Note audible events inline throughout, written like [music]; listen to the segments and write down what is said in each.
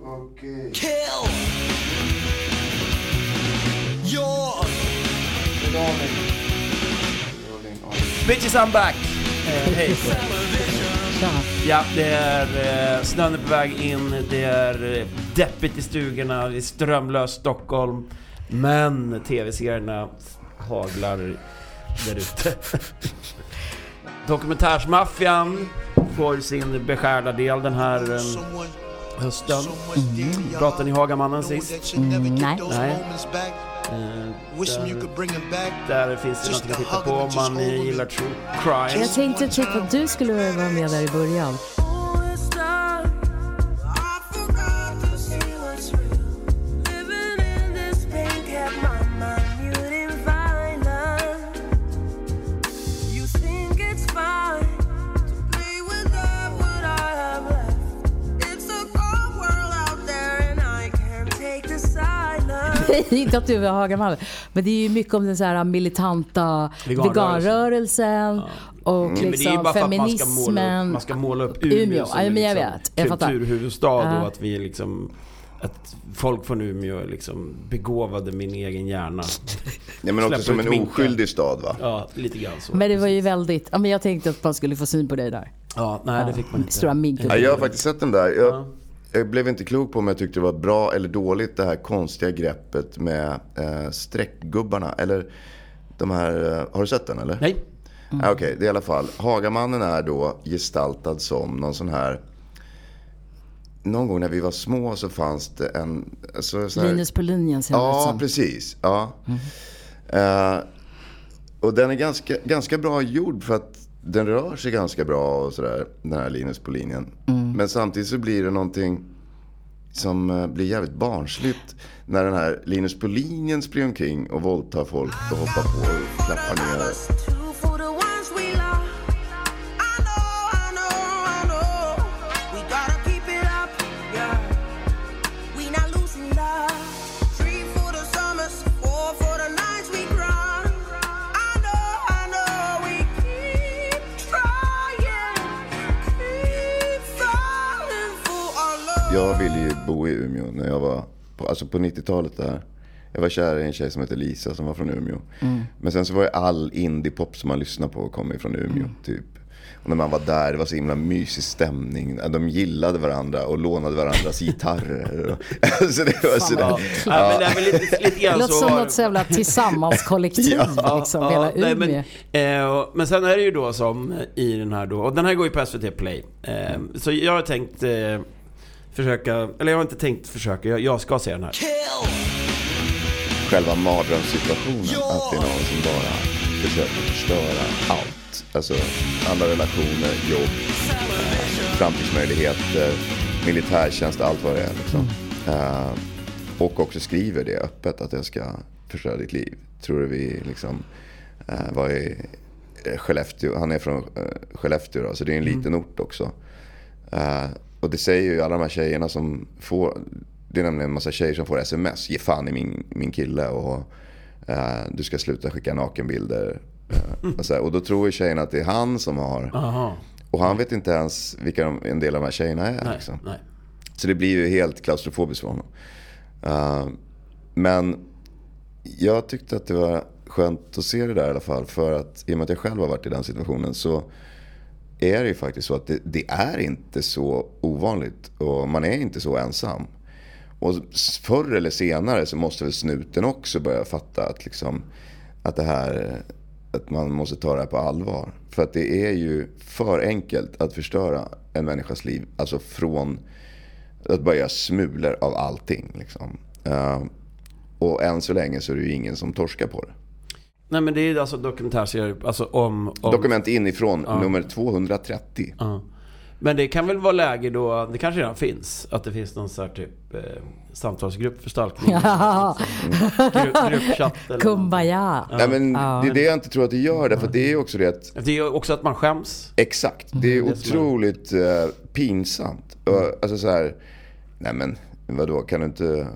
Okej. Kill! Ja! Begravning. Begravning. ja. Bitches I'm back! Eh, hej! Ja, det är eh, snön är på väg in, det är eh, deppigt i stugorna, det är strömlöst Stockholm. Men tv-serierna haglar där ute. [laughs] Dokumentärsmaffian får sin beskärda del den här eh, hösten. Pratar ni Hagamannen sist? nej. Nej. Eh, där, där finns det någonting att titta på om man eh, gillar true crime. Jag tänkte typ att du skulle vara med där i början. [laughs] Inte att du är Hagamannen. Men det är ju mycket om den så här militanta Veganrörelsen. Mm, veganrörelsen och Men det är ju liksom bara för att man ska måla upp, feminismen. man ska måla upp Umeå, Umeå, ja, som men jag liksom vet. Jag fattar. kulturhuvudstad Ja. och att vi liksom att folk från Umeå är liksom begåvade min egen hjärna. Nej, men också Släpper som ut en minkar. oskyldig stad va? Ja, lite grann så. Men det var ju väldigt, ja, men jag tänkte att man skulle få syn på dig där. Ja, nej det fick man inte. Stora minken. Ja, jag har faktiskt sett den där. Jag, jag blev inte klok på om jag tyckte det var bra eller dåligt det här konstiga greppet med eh, streckgubbarna. Eller de här, eh, har du sett den eller? Nej. Ah, Okej, det är i alla fall. Hagamannen är då gestaltad som någon sån här... Någon gång när vi var små så fanns det en... Alltså, sån här, Linus på linjen ser det ut Ja, som. precis. Ja. Eh, och den är ganska, ganska bra gjord för att den rör sig ganska bra och sådär. Den här Linus på linjen. Men samtidigt så blir det någonting som eh, blir jävligt barnsligt. När den här Linus på linjen springer omkring och våldtar folk och hoppar på och klappar ner. Jag ville ju bo i Umeå när jag var, på, alltså på 90-talet där. Jag var kär i en tjej som hette Lisa som var från Umeå. Men sen så var ju all indiepop som man lyssnade på kom ju från Umeå typ. Och när man var där, det var så himla mysig stämning. De gillade varandra och lånade varandras gitarrer. Och- [laughs] så det var Ja, sådär. nej, men, nej, men lite, lite Det grann låter så som var något så [laughs] jävla tillsammans-kollektiv liksom, hela Umeå. nej, men, eh, och- men sen är det ju då som i den här då, och den här går ju på SVT Play. Eh, så jag har tänkt eh, försöka, eller jag har inte tänkt försöka, jag, jag ska se den här. Kill! Själva mardrömssituationen. Att det är någon som bara försöker förstöra allt. Alltså alla relationer, jobb, eh, framtidsmöjligheter, militärtjänst, allt vad det är. Liksom. Eh, och också skriver det öppet att jag ska förstöra ditt liv. Tror du vi liksom eh, var i eh, Skellefteå. Han är från eh, Skellefteå då, så det är en liten ort också. Eh, och det säger ju alla de här tjejerna som får, det är nämligen en massa tjejer som får sms. Ge fan i min, min kille och eh, du ska sluta skicka nakenbilder. Eh, och, så här, och då tror ju tjejerna att det är han som har. Aha. Och han vet inte ens vilka de, en del av de här tjejerna är. Nej, liksom. nej. Så det blir ju helt klaustrofobiskt för honom. Eh, men jag tyckte att det var skönt att se det där i alla fall. För att i och med att jag själv har varit i den situationen så är det ju faktiskt så att det, det är inte så ovanligt. Och man är inte så ensam. Och s- förr eller senare så måste väl snuten också börja fatta att, liksom, att, det här, att man måste ta det här på allvar. För att det är ju för enkelt att förstöra en människas liv. Alltså från att bara göra smulor av allting. Liksom. Eh, och än så länge så är det ju ingen som torskar på det. Nej men det är ju alltså dokumentärserier, alltså om... om Dokument inifrån, nummer 230. Ja. Men det kan väl vara läge då, det kanske redan finns, att det finns någon sån här typ eh, samtalsgrupp för stalkning. Ja. Grupp, gruppchatt eller Kumbaya. Nej, men det är det jag inte tror att det gör. Därför att det är ju också det att någonting. Det är ju också att man skäms. Exakt. Det är Mm, Det är Mm. som otroligt eh, pinsamt. Och, Alltså så här, nej men vadå, kan du inte, Mm,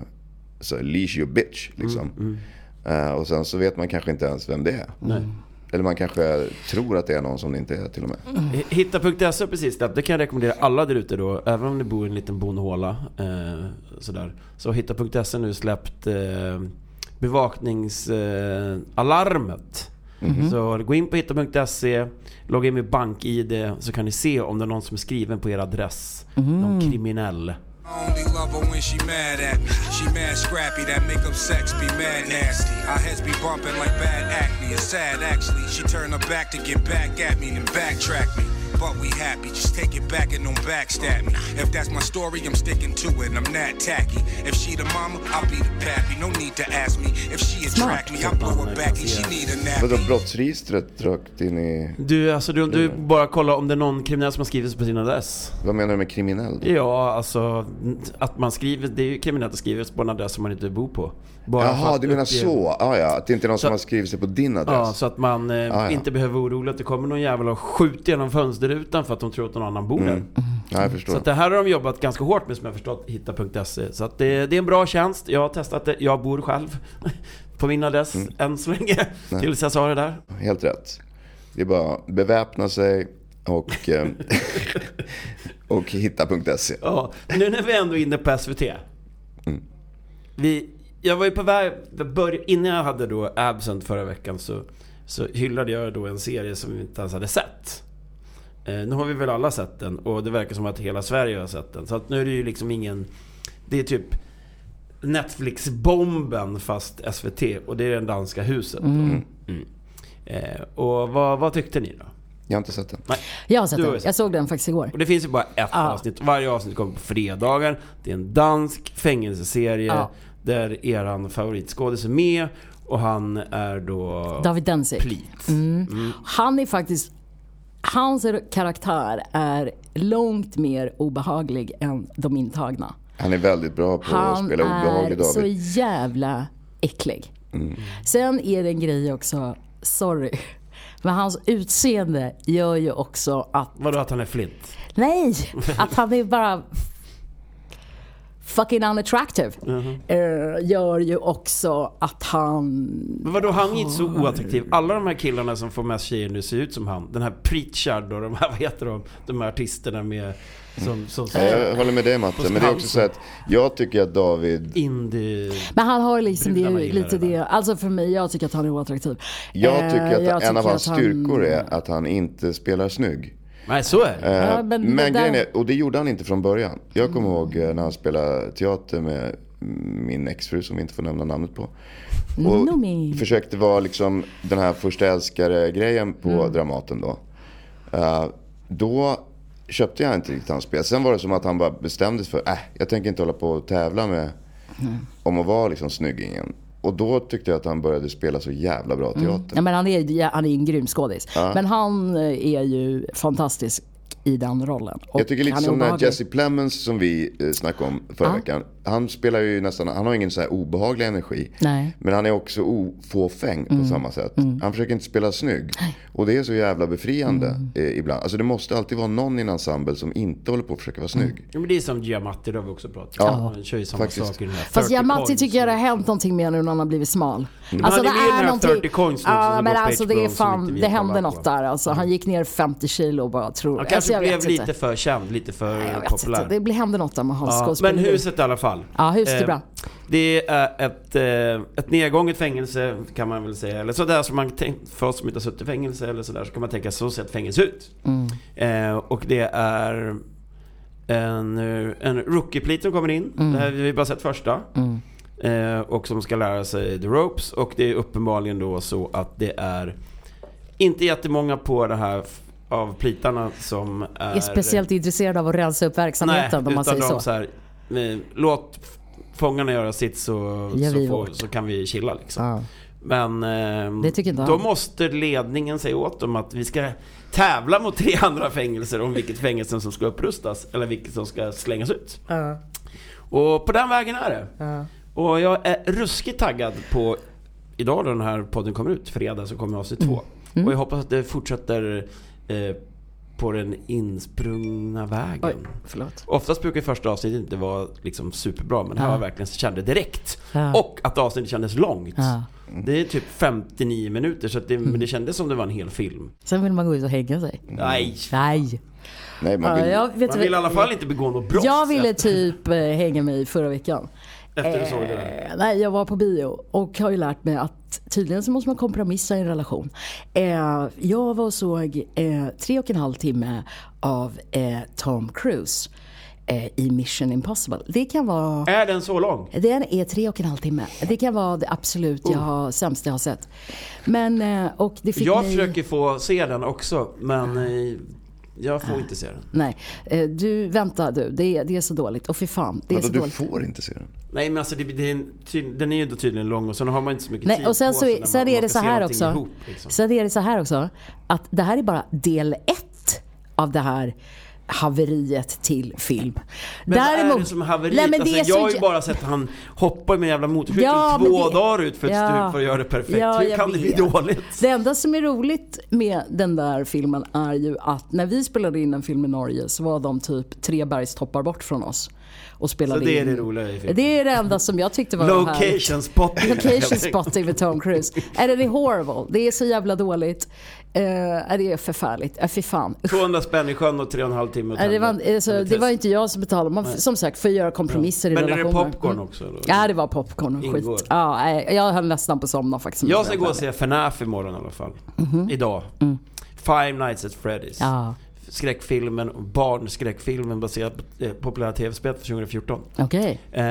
så, leash your bitch liksom. Eh, och sen så vet man kanske inte ens vem det är. Eller man kanske tror att det är någon som det inte är till och med. Mm. Hitta.se E precis släppt. Det kan jag rekommendera alla där ute då. Även om ni bor i en liten bonhåla. Eh, sådär. Så Hitta.se E nu släppt eh, bevakningsalarmet. Eh, alarmet. Mhm. Så gå in på Hitta.se, E, logga in med BankID så kan ni se om det är någon som är skriven på er adress. Mm. Någon kriminell. I only love her when she mad at me. She mad scrappy, that make up sex be mad nasty. Our heads be bumping like bad acne. It's sad actually. She turned her back to get back at me, then backtrack me. But we happy, just take it back and don't backstab me. If that's my story, I'm sticking to it. I'm not tacky. If she the mama, I'll be the pappy. No need to ask me. If she attract me, I blow her back and she need a Vadå, nappy. brottsregistret rakt in i... Du, alltså, du, du bara kolla om det är någon kriminell som har skrivit på sin adress. Vad menar du med kriminell? då? Ja, alltså att man skriver, det är ju kriminellt att skriva på en adress som man inte bor på. Bara för Jaha, att du menar uppge- så? Ah, ja, att det inte är någon Så- som har skrivit sig på din Ja, adress? så att man eh, ja. inte behöver vara orolig att det kommer någon jävel och skjuter genom fönsterrutan för att de tror att någon annan bor Mm. där. ja, jag Så förstår. att det här har de jobbat ganska hårt med som jag förstått, hitta.se. E. Så att det, det är en bra tjänst, jag har testat det, jag bor själv [laughs] på min adress Mm. än så länge. Tills jag sa det där. Helt rätt. Det är bara att beväpna sig [laughs] och, eh, och hitta.se. Ja, nu när vi ändå är inne på SVT. Vi, jag var ju på väg, bör, innan jag hade då Absent förra veckan så, så hyllade jag då en serie som vi inte ens hade sett. Eh, nu har vi väl alla sett den och det verkar som att hela Sverige har sett den. Så att nu är det ju liksom ingen... Det är typ Netflix-bomben fast SVT och det är den danska huset. Mm. Eh, och vad, vad tyckte ni då? Jag har inte sett den. Nej. Jag har sett Du har den. sett Jag såg den faktiskt igår. Och det finns ju bara ett Ja. avsnitt. Varje avsnitt kommer på fredagar. Det är en dansk fängelseserie Ja. där eran favoritskådis är med och han är då... David Denzik. Plit. Han är faktiskt... Hans karaktär är långt mer obehaglig än de intagna. Han är väldigt bra på att Han spela obehaglig är så David. Mm. jävla äcklig. Sen är det en grej också, sorry. Men hans utseende gör ju också att, Vadå att han är flint? [laughs] nej, att han är bara fucking unattractive. Mm-hmm. Eh, gör ju också att han Men vadå, han är inte så oattraktiv. Alla de här killarna som får mest tjejer nu ser ut som han. Den här Pritchard och de här, [laughs] vad heter de? De här artisterna med... Som, som, som Ja, Jag håller med dig Matte, men det är också så att jag tycker att Eh, David, indie... Men han har liksom det, Brudarna gillar lite det det, där. alltså för mig, jag tycker att han är oattraktiv. Eh, jag tycker att jag en av tycker hans att han- styrkor är att han inte spelar snygg. Nej, så är det. Eh, Ja, men men det där- grejen är, och det gjorde han inte från början. Jag kommer ihåg eh, när han spelade teater med min exfru som vi inte får nämna namnet på. Och Noomi. försökte vara liksom den här första älskare-grejen på Dramaten då. Eh, då köpte jag inte riktigt hans spel. Sen var det som att han bara bestämde sig för, äh, jag tänker inte hålla på och tävla med om att vara liksom snyggingen. Och då tyckte jag att han började spela så jävla bra teater. Ja, men han, är, ja, han är en grym skådis. Men han eh, är ju fantastisk i den rollen. Och Jag tycker lite han är som när obehaglig. Jesse Plemons som vi eh, snackade om förra veckan. Han spelar ju nästan, han har ingen så här obehaglig energi. Nej. Mm. Men han är också ofåfäng på samma sätt. Han försöker inte spela snygg. Och det är så jävla befriande Mm. eh, ibland. Alltså det måste alltid vara någon i en ensemble som inte håller på att försöka vara Mm. snygg. Ja, men det är som Giamatti, det har vi också pratat om. Ja, Han kör ju samma faktiskt. sak i den här Fast 30 Giamatti coins. tycker jag det har hänt någonting med nu när han har blivit smal. Mm. Alltså, han är med i den här 30 coins nu som Ja, går men på alltså det HBO är som fan, inte vi det kollar hände på. något där alltså. Han gick ner 50 kilo och bara tror... Han alltså, kanske jag blev vet lite inte. för känd, lite för Nej, jag vet populär. inte. Det blir- hände något där med hans Ja, men skådespeleri. huset i alla fall. Alltså, Ja, huset är Eh, bra. Det är ett, eh, ett nedgånget fängelse kan man väl säga. Eller sådär som man tänkt, för oss som inte har suttit i fängelse eller sådär så kan man tänka så ser ett fängelse ut. Mm. Eh, och det är en, eh, en rookie-plit som kommer in. Mm. Det här har vi bara sett första. Eh, och som ska lära sig the ropes. Och det är uppenbarligen då så att det är inte jättemånga på det här f- av plitarna som är... Är speciellt intresserad av att rensa upp verksamheten om man utan säger de så. här, eh, låt f- fångarna göra sitt så, Gör så, vi får, vårt. så kan vi chilla liksom. Ja. Men eh, Det tycker inte då han. måste ledningen säga åt dem att vi ska tävla mot tre [laughs] andra fängelser om vilket fängelse som ska upprustas eller vilket som ska slängas ut. Och på den vägen är det. Och jag är ruskigt taggad på idag då den här podden kommer ut, fredag så kommer avsnitt Mm. två. Och jag hoppas att det fortsätter eh, på den insprungna vägen. Oj, förlåt. Oftast brukar första avsnittet inte vara liksom superbra men här Ja. var verkligen kände direkt. Ja. Och att avsnittet kändes långt. Ja. Mm. Det är typ 59 minuter så att det, men det kändes som det var en hel film. Sen vill man gå ut och hänga sig. Nej. Nej. Nej, man Ja, vill... jag, vet Mm. Man du vill i vad- alla fall inte begå något brott. jag ville efter- typ eh, hänga mig förra veckan. Efter du såg det där. Eh, nej, jag var på bio och har ju lärt mig att tydligen så måste man kompromissa i en relation. Eh, jag var och såg eh, tre och en halv timme av eh, Tom Cruise eh, i Mission Impossible. Det kan vara... Är den så lång? Den är tre och en halv timme. Det kan vara det absolut jag har, sämsta jag har sett. Men, eh, och det fick Oh. Jag mig... försöker få se den också, men eh, jag får inte se den. Nej, eh, du vänta du. Det är, det är så dåligt. Och fy fan, det är Alltså, Vadå, så Alltså, du dåligt. får inte se den? Nej men alltså det, det är en tyd, den är ju då tydligen lång och sen har man inte så mycket Nej, tid och sen, på så, sig när är- man- sen man är det ska så se här någonting också. Ihop, liksom. Sen är det så här också. Att det här är bara del ett av det här haveriet till film. Men vad är det som är haveriet? Nej, men det är alltså, jag har så... ju bara sett han hoppa med en jävla motorcykel Ja, men två det- dagar ut för ett Ja. stup för att göra det perfekt. Ja, Hur jag kan det bli vet. dåligt? Det enda som är roligt med den där filmen är ju att när vi spelade in en film i Norge så var de typ tre bergstoppar bort från oss. Och Så spelade det är in. det roliga i filmen. Det är det enda som jag tyckte var härligt. Location spotting. [laughs] Location spotting med Tom Cruise. Äh, den är horrible. Det är så jävla dåligt. Uh, det är förfärligt. Uh, fy fan. Usch. 200 spänn i sjön och tre och en halv timme att Äh, det, tända. var, alltså, Eller det var test. inte jag som betalade. Man, som sagt, får göra kompromisser i Men är relationer. det popcorn Mm. också? Eller? Ja, det var popcorn och Ingår. skit. Ja, nej, jag höll nästan på att somna faktiskt. Jag ska gå och se FNAF imorgon i alla fall. Idag. Five Nights at Freddy's. Mhm. Mm. Ja, Skräckfilmen, barnskräckfilmen baserad på eh, populära tv-spel från 2014. okej. Eh,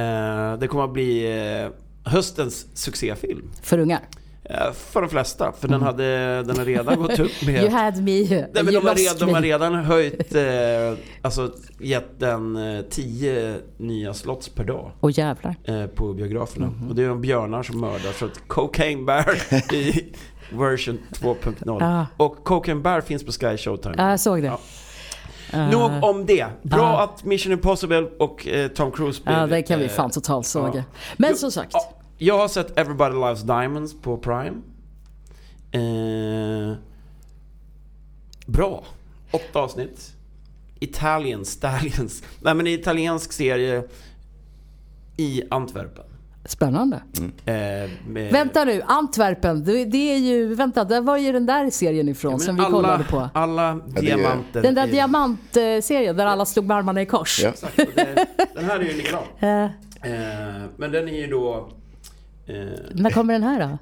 det kommer att bli eh, höstens succéfilm. För ungar. Eh, för de flesta, för Mm. den, hade, den har redan gått [laughs] upp med... You had me. Nej, men you de, har lost redan, de har me. redan [laughs] höjt, eh, alltså gett den eh, 10 nya slots per dag. Åh jävlar. eh, på biograferna. Mhm. Och det är de björnar som mördar. Så att Cocaine Bear [laughs] i version 2.0. Ah. Och Cocaine Bear finns på Sky Showtime. Ja, jag såg det. Ja. Eh, Nog om det. Bra Ah. att Mission Impossible och eh, Tom Cruise Ja, det kan vi eh, fan totalsåga. ja. Men Jo, som sagt. ja, jag har sett Everybody Loves Diamonds på Prime. Eh, bra. Åtta avsnitt. Italian Stallions. Nej men en italiensk serie i Antwerpen. Spännande. Eh, med- Vänta nu, Antwerpen. Det det är ju, vänta, där var ju den där serien ifrån Ja, men som vi alla, kollade på. Alla det är- diamanter. Den där är- diamantserien där alla stod med armarna i kors. Ja. Exakt, och det- Den här är ju [laughs] likadan. Eh, Eh, men den är ju då... Eh, när kommer den här då?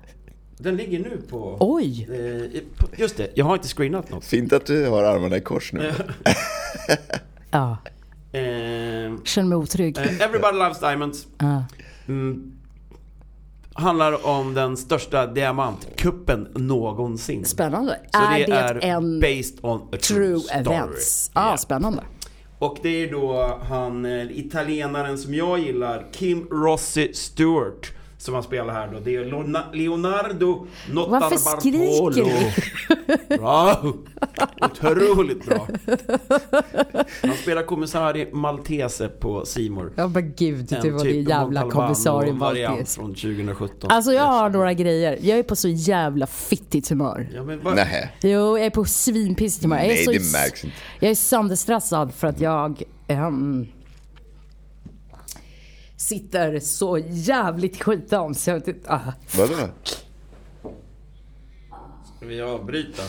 den ligger nu på... Oj! Eh, i- på- just det, jag har inte screenat något. Fint att du har armarna i kors nu. Ja, Eh, eh, känner mig otrygg. Everybody Loves Diamonds. Ja. Mm, handlar om den största diamantkuppen någonsin. Spännande. Så är det, det är en based on a true, true story. events? Ja. ah, spännande. Och det är då han eh, italienaren som jag gillar, Kim Rossi Stewart. Som han spelar här då. Det är Leona- Leonardo Notarbartolo. Varför skriker Bra! Otroligt bra. Han spelar kommissarie Maltese på Simor. Ja men gud, det var det jävla kommissarie typ variant Maltes. från 2017. Alltså jag har några grejer. Jag är på så jävla fittigt humör. Ja, men [laughs] vad- Nej. Jo, jag är på svinpissigt humör. Jag är Nej, så, det märks inte. Jag är sönderstressad för att jag ehm, sitter så jävligt skitdans. Jag vet inte, ah. Vadå? Ska vi avbryta?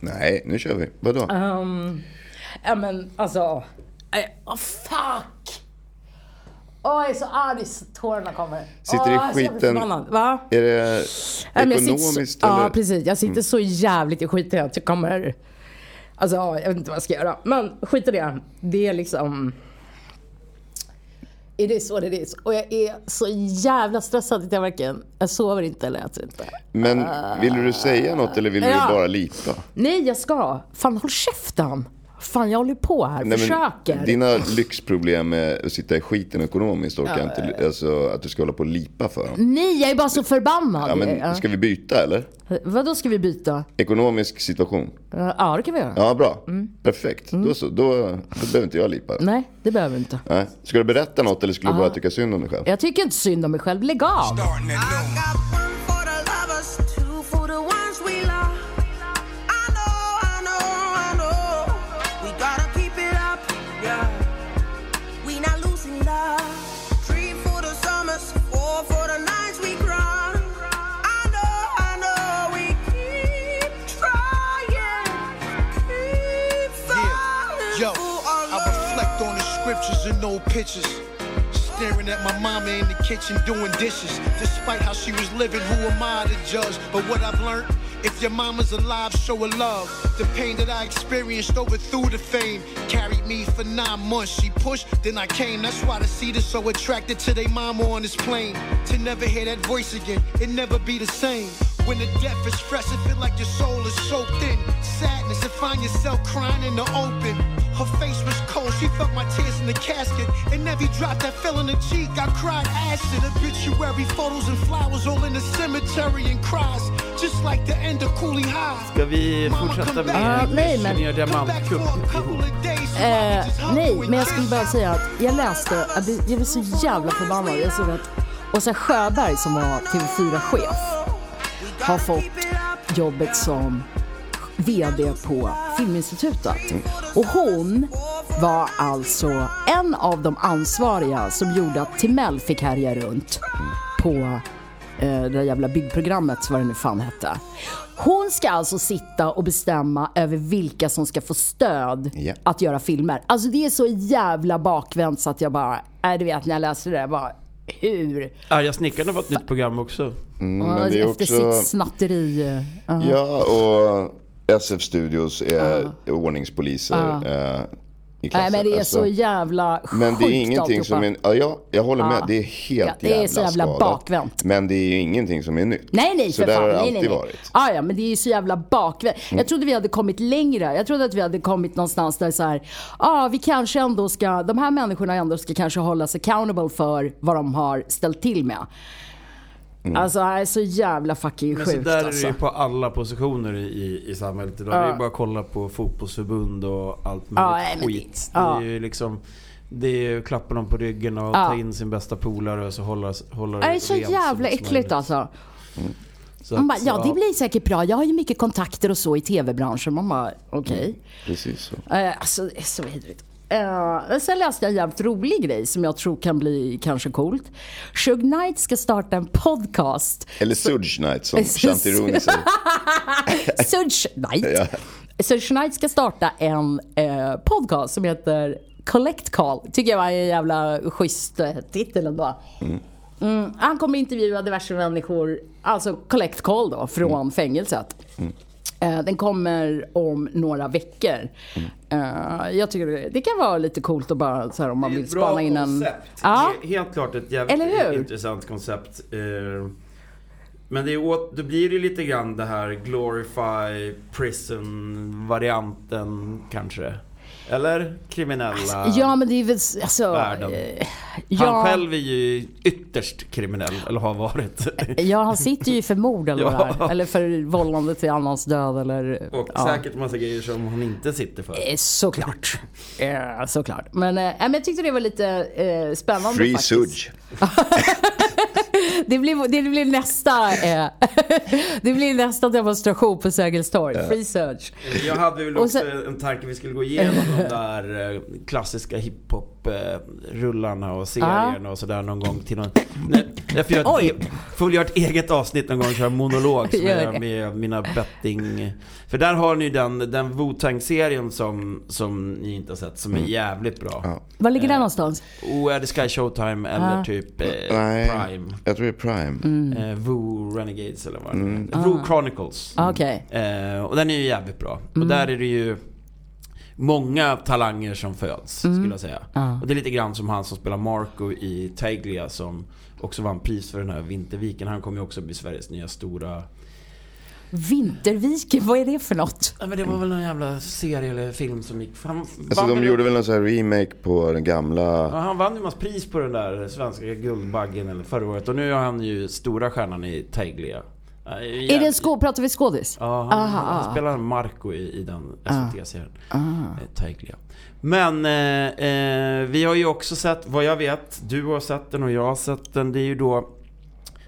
Nej, nu kör vi. Vadå? Ehm, ja men alltså. nej, Åh fuck! Åh jag är så arg så tårarna kommer. Sitter Åh, i jag är så jävla skiten- förbannad. Va? Är det Nej, men jag sitter ekonomiskt så, Ja eller? Mm. precis. Jag sitter så jävligt i skiten att jag kommer... Alltså ja, jag vet inte vad jag ska göra. Men skit i det. Det är liksom... It is what it is. Och jag är så jävla stressad att jag varken... Jag sover inte eller äter inte. Men vill du säga något eller vill Ja. du bara lita? Nej jag ska. Fan håll käften. Fan jag håller på här. Nej, men Försöker. Dina lyxproblem med att sitta i skiten ekonomiskt orkar jag inte, alltså att du ska hålla på och lipa för dem. Nej jag är bara så förbannad. Ja, Ja. men ska vi byta eller? Vadå ska vi byta? Ekonomisk situation. Eh, Ja det kan vi göra. Ja, bra. Perfekt. Då så, då, då behöver inte jag lipa. Mm. Nej det behöver vi inte. Nej. Ska du berätta något eller skulle du bara tycka synd om dig själv? Jag tycker inte synd om mig själv. Lägg av. Starting I at noon. got one for the lovers, two for the ones we love. I know, I know, I know. We gotta keep it up, yeah. We not losing love. Three for the summers, four for the nights we cry. I know, and no pictures. Staring at my mama in the kitchen doing dishes. Despite how she was living, who am I to judge? But what I've learned, if your mama's alive, show her love. The pain that I experienced over through the fame carried me for nine months. She pushed, then I came. That's why the seed is so attracted to their mama on this plane. To never hear that voice again, it never be the same. When the death is fresh, it feel like your soul is soaked in sadness and find yourself crying in the open. Her face was cold, she felt my tears in the casket. And every drop that fell on the cheek, I cried acid. Obituary photos and flowers all in the cemetery and cries, just like the end of Coolie High. Ska vi fortsätta Ah, med nej, men- Senior Come back Diamantcup for a ihop? couple of days so I Eh, can just hug nej, you and men jag kiss skulle bara you. säga att jag läste, jag blev, jag blev så jävla förbannad. Jag såg att Åsa Sjöberg som var TV4-chef har fått jobbet som VD på Filminstitutet. Och hon var alltså en av de ansvariga som gjorde att Timell fick härja runt på eh, det där jävla byggprogrammet, vad det nu fan hette. Hon ska alltså sitta och bestämma över vilka som ska få stöd Ja. att göra filmer. Alltså det är så jävla bakvänt så att jag bara, nej du vet när jag läste det där, jag bara hur? Arga snickaren har fått ett nytt program också. Mm, men det är Efter också... sitt snatteri. eh, ja. Ja, och SF Studios är ordningspoliser eh, i klassen. Nej men det är Alltså, så jävla sjukt Men det är ingenting alltihopa. som är... Ja, jag, jag håller med. Ja. Det är helt Ja, det är jävla så jävla skadat. bakvänt. Men det är ju ingenting som är nytt. Nej nej så för där fan. har det nej, alltid nej, nej. varit. Mm. Ah, ja men det är ju så jävla bakvänt. Jag trodde vi hade kommit längre. Jag trodde att vi hade kommit någonstans där så här. ah, vi kanske ändå ska, de här människorna ändå ska kanske hållas accountable för vad de har ställt till med. Mm. Alltså det här är så jävla fucking Men så sjukt där är alltså. det ju på alla positioner i- i, i samhället idag. Det är bara att kolla på fotbollsförbund och allt Ja, möjligt Ah, nej, men det- ah. skit. Det, ja. är ju liksom... Det är ju klappa dem på ryggen och ta in sin bästa polare och så hålla, hålla Ah. Ja, Det är så rent som jävla möjligt. äckligt alltså. Så Man att- bara, ja det blir säkert bra. Jag har ju mycket kontakter och så i tv-branschen. Man bara, okej. Mm. Precis så. Eh, Alltså, det är så vidrigt. Eh, men sen läste jag en jävligt rolig grej som jag tror kan bli kanske coolt. Suge Knight ska starta en podcast. Eller Sudge Knight [laughs] som Precis. Shanti Rooney säger. Suge Ja. Knight. Suge Knight ska starta en eh, podcast som heter Collect Call. Tycker jag var en jävla schysst eh, titel ändå. Mm, han kommer intervjua diverse människor, alltså Collect Call då, från fängelset. Eh, Den kommer om några veckor. Eh, Jag tycker det- det kan vara lite coolt att bara så här, om man Det är vill ett bra spana in en... koncept. Ja, Det är Helt klart ett jävligt Eller hur? intressant koncept. Eh, Men det är åt, då blir det lite grann det här glorify prison-varianten kanske. Eller kriminella. ja men det är väl... s- Alltså, Världen. eh, Han ja, själv är ju ytterst kriminell, eller har varit. [laughs] ja, han sitter ju för [laughs] mord eller, Ja. vad det är. eller för vållande till annans död eller... Och ja. säkert massa grejer som han inte sitter för. Eh, Såklart. Eh, Såklart. Men, eh, nej, men jag tyckte det var lite eh, spännande Free faktiskt. Sudge. Det blir, det blir nästa eh, [laughs] Det blir nästa demonstration på Sergels torg. Free search. Jag hade väl Och också sen- en tanke vi skulle gå igenom de där eh, klassiska hiphop-rullarna och serierna och sådär någon gång till någon... Nej, jag får göra ett, e- Oj. får väl göra ett eget avsnitt någon gång och köra monolog [laughs] som jag Gör gör det. med mina betting... För där har ni ju den, den Wu-Tang-serien som, som ni inte har sett som är jävligt bra. Var ligger den Eh. någonstans? Oh, är det Sky Showtime eller typ eh, Nej, Prime? jag tror det är Prime. Mm. Eh, Wu Renegades eller vad mm. Wu Chronicles. Ah, Okej. Eh, och den är ju jävligt bra. Mm. Och där är det ju många talanger som föds, Mm. skulle jag säga. Och det är lite grann som han som spelar Marco i Taglia som också vann pris för den här Vinterviken. Han kommer ju också bli Sveriges nya stora... Vinterviken, vad är det för något? Ja, men det var väl någon jävla serie eller film som gick... Han Alltså vann de väl- gjorde väl någon sån här remake på den Ja, gamla... han vann ju massa pris på den där svenska Guldbaggen eller förra året. Och nu är han ju stora stjärnan i Taglia. Eh, Är det en jävligt- skå- pratar vi skådis? Ja, han, han spelar Marco i, i den SVT-serien. Eh, Taiglia. Men eh, eh, vi har ju också sett, vad jag vet, du har sett den och jag har sett den. Det är ju då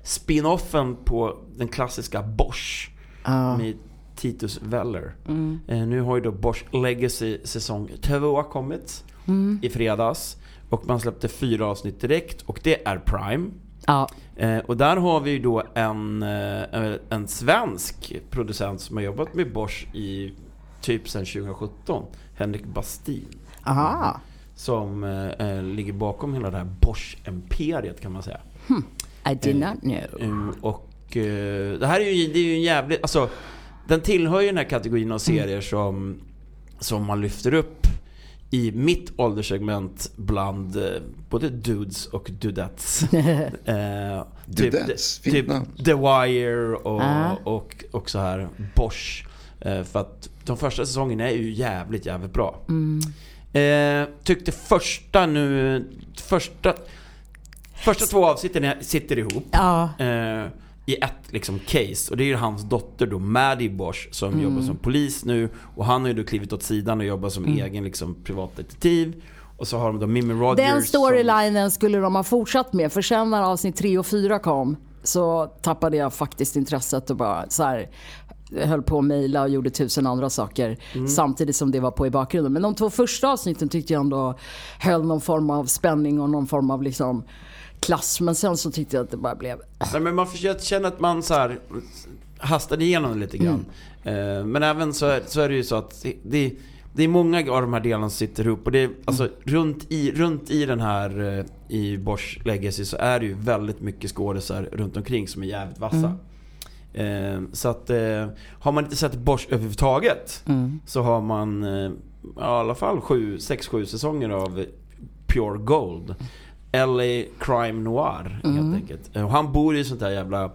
spin-offen på den klassiska Bosch med Titus Weller. Eh, nu har ju då Bosch Legacy säsong 2 kommit i fredags. Och man släppte fyra avsnitt direkt och det är Prime. Ja. Eh, och där har vi ju då en, eh, en svensk producent som har jobbat med Bosch i typ sedan 2017. Henrik Bastin. Aha. som eh, ligger bakom hela det här Bosch-imperiet kan man säga. I did not know. Mm, och eh, det här är ju, det är ju en jävligt, alltså den tillhör ju den här kategorin av serier som, som man lyfter upp i mitt ålderssegment bland eh, både dudes och dudettes. Eh, Dudettes, typ, fint typ namn. The Wire och, Ah. och, och så här Bosch. Eh, för att de första säsongerna är ju jävligt, jävligt bra. Eh, tyckte första nu, första, första två avsnitten är- sitter ihop Ja, eh, i ett liksom case. Och det är ju hans dotter då, Maddie Bosch, som Mm. jobbar som polis nu. Och han har ju då klivit åt sidan och jobbar som egen liksom, privatdetektiv. Och så har de då Mimmi Rogers. Mm. den som- storylinen skulle de ha fortsatt med för sen när avsnitt 3 och 4 kom så tappade jag faktiskt intresset och bara så här höll på att mejla och gjorde tusen andra saker Mm. samtidigt som det var på i bakgrunden. Men de två första avsnitten tyckte jag ändå höll någon form av spänning och någon form av liksom klass. Men sen så tyckte jag att det bara blev... Nej, men man försöker känna att man så här hastade igenom det lite grann. Eh, men även så är, så är det ju så att det- det, det är många av de här delarna som sitter ihop. Och det är, alltså, runt, i, runt i den här eh, i Bosch Legacy så är det ju väldigt mycket skådisar runt omkring som är jävligt vassa. Eh, så att eh, har man inte sett Bosch överhuvudtaget Mm. så har man eh, i alla fall 6-7 säsonger av Pure Gold. LA Crime Noir Mm. helt enkelt. Eh, Och han bor i sånt där jävla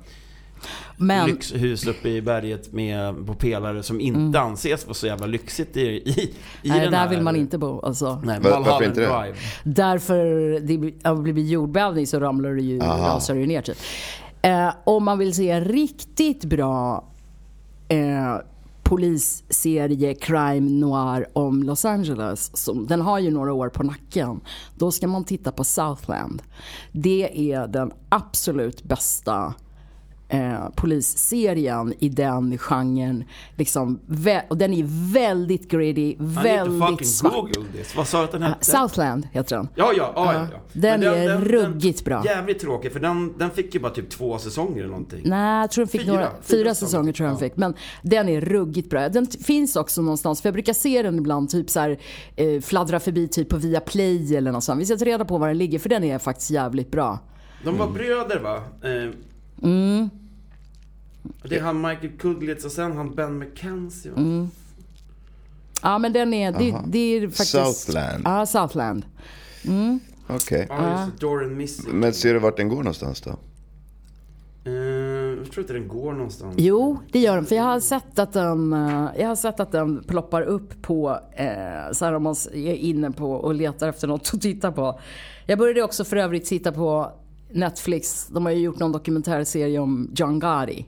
Men lyxhus uppe i berget med på pelare som inte anses vara så jävla lyxigt i, i, i Mm. nej, den där här. vill man inte bo. Alltså. Nej, Var- varför Mulholland inte det? Drive. Därför det blir- om det blir jordbävning så ramlar det ju, rasar det ju ner typ. Eh, om man vill se riktigt bra eh, polisserie crime noir om Los Angeles. Som, den har ju några år på nacken. Då ska man titta på Southland. Det är den absolut bästa eh, polisserien i den genren. Liksom, vä- och den är väldigt gritty, Han är inte väldigt fucking svart. Google this. Vad sa du att den Ah, hette? Southland heter den. Ja, ja, ja, ja, Ja. ja. Den Men är ruggigt bra. Jävligt tråkig för den, den fick ju bara typ två säsonger eller någonting. Nej, jag tror den fick Fyra. fyra, några, fyra, Fyra säsonger, säsonger, tror jag den ja. fick. Men den är ruggigt bra. Den t- finns också någonstans, för jag brukar se den ibland typ så här, eh, fladdra förbi typ på Viaplay eller något sånt. Vi ska ta reda på var den ligger för den är faktiskt jävligt bra. De Mm. var bröder va? Eh, Och Det är han Michael Kudlitz och sen han Ben McKenzie va? Mm, Ja men den är, det, det är faktiskt... Southland. Ja, Southland. Okej. Ja just det, Doran Mm. Missing. Men ser du vart den går någonstans då? Eh, jag tror inte den går någonstans. Jo, det gör den. För jag har sett att den, eh, jag har sett att den ploppar upp på, eh, så här om man s- är inne på och letar efter något att titta på. Jag började också för övrigt titta på Netflix. De har ju gjort någon dokumentärserie om John Gotti.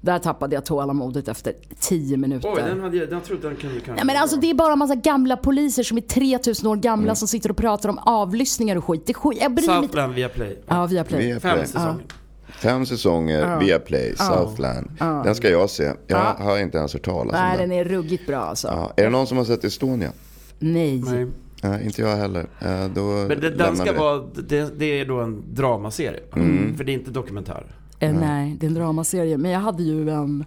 Där tappade jag tålamodet efter 10 minuter. Oj, den hade jag, den trodde den kunde kanske Nej, men alltså det är bara en massa gamla poliser som är 3000 år gamla som sitter och pratar om avlyssningar och skit. Det är skit. Jag bryr mig inte. Southland via Play. Ja, via Play. Via Fem Play. säsonger. Fem säsonger via Play, Southland. Den ska jag se. Jag har inte ens hört talas Nej, om den. den är ruggigt bra alltså. Ja. Är det någon som har sett Estonia? Nej. Nej. Nej, inte jag heller. Eh, Då Men det, den lämnar ska vi det. vara, det, det är då en dramaserie. Mm. För det är inte dokumentär. Eh, Nej, det är en dramaserie. Men jag hade ju en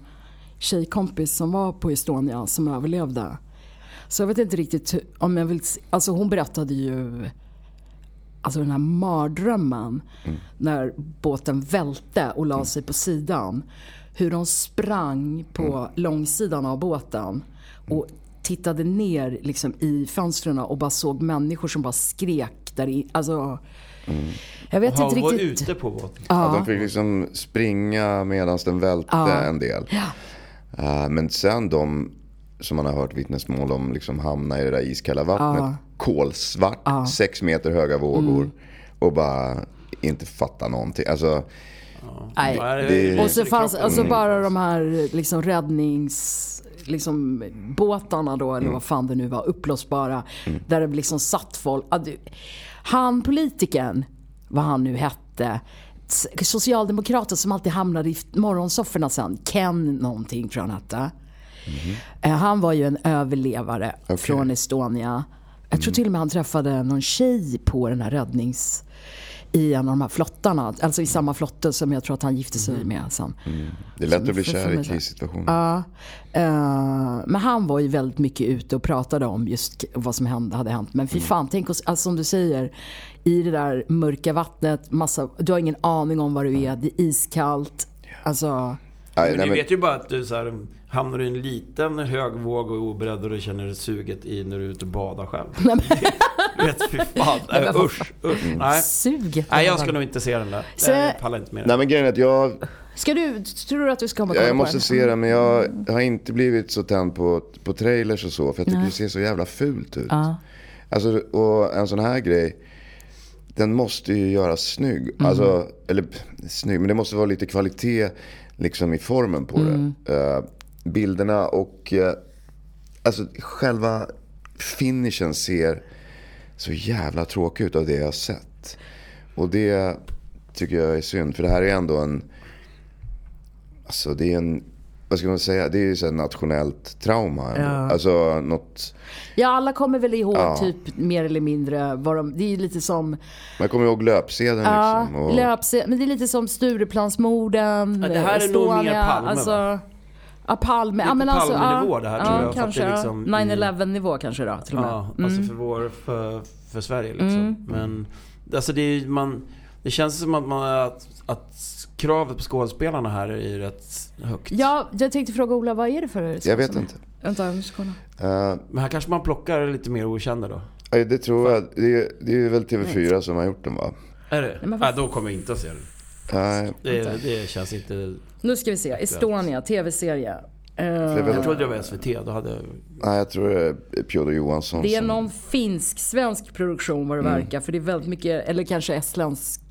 tjejkompis som var på Estonia som överlevde. Så jag vet inte riktigt hur- om jag vill... se- Alltså hon berättade ju alltså den här mardrömmen när båten välte och la sig på sidan. Hur de sprang på långsidan av båten och tittade ner liksom i fönstren och bara såg människor som bara skrek där i, Alltså, jag vet Han inte var riktigt. ute på båten. Ja, de fick liksom springa medan den välte en del. Eh, men sen de, som man har hört vittnesmål om, liksom hamna i det där iskalla vattnet. Kolsvart, sex meter höga vågor. Mm. Och bara inte fatta någonting. Alltså, Nej. Det- Och så fanns alltså bara de här liksom räddnings liksom båtarna då Mm. eller vad fan det nu var uppblåsbara där det liksom satt folk. Ah, du, han politikern vad han nu hette s- socialdemokraten som alltid hamnade i f- morgonsofforna sen Ken någonting tror jag han hette. Eh, Han var ju en överlevare Mm. från Estonia. Jag tror till och med han träffade någon tjej på den här räddnings... i en av de här flottarna. Alltså i samma flotte som jag tror att han gifte sig Mm. med sen. Det är lätt att bli För- kär för i mig så- krissituationer. Ja. Eh, men han var ju väldigt mycket ute och pratade om just k- vad som hände, hade hänt. Men fy Mm. fan, tänk oss, alltså som du säger, i det där mörka vattnet, massa, du har ingen aning om var Mm. du är, det är iskallt. Alltså, Nej, Men nej, du men- vet ju bara att du så här, mm, hamnar i en liten hög våg och är oberedd och du känner suget i när du är ute och badar själv. Du [laughs] vet, fy fan. Nej, usch, usch. Nej. suget. Nej, jag ska nog inte se den där. Så- Jag pallar inte med Nej den. men grejen är att jag, Ska du, tror du att du ska komma och jag, kolla jag på Mm. måste den? se den men jag har inte blivit så tänd på, på trailers och så. För jag tycker det ser så jävla fult ut. Alltså, och en sån här grej, den måste ju göras snygg. Mm. Alltså, eller pff, snygg, men det måste vara lite kvalitet liksom, i formen på Mm. det. Eh, bilderna och eh, alltså, själva finishen ser så jävla tråkig ut av det jag har sett. Och det tycker jag är synd. För det här är ändå en... Alltså det är en... Vad ska man säga? Det är ju så här nationellt trauma. ändå. Alltså något... Ja, alla kommer väl ihåg typ mer eller mindre vad de, det är ju lite som, Man kommer ihåg löpsedeln ja, liksom. Och, löpse, men det är lite som Stureplansmorden, Ja, det här är nog mer Estonia, Palme, va? alltså, Ja, Palme. är Ja, på men alltså, Palmenivå ja, det här, ja, tror jag, för att det är kanske. ja. liksom i- 9-11 nivå kanske då till och med. Ja, alltså för, vår, för, för Sverige liksom. Men alltså det, är, ju- man, det känns som att, man, att, att kravet på skådespelarna här är ju rätt högt. Ja, jag tänkte fråga Ola, vad är det för Jag vet inte. Vänta, jag måste kolla. Eh, Men här kanske man plockar lite mer okända då. nej, det tror jag. Det är, det är ju väl TV4 som har gjort den va? Är det? Nej, men vad- då kommer jag inte att se den. Nej, Det, det känns inte... Nu ska vi se. Estonia, tv-serie. Eh, det är Jag väl, trodde det var SVT, då hade jag... nej, jag tror det är Piotr Johansson det är som- någon finsk-svensk produktion vad det verkar. För det är väldigt mycket, eller kanske estländsk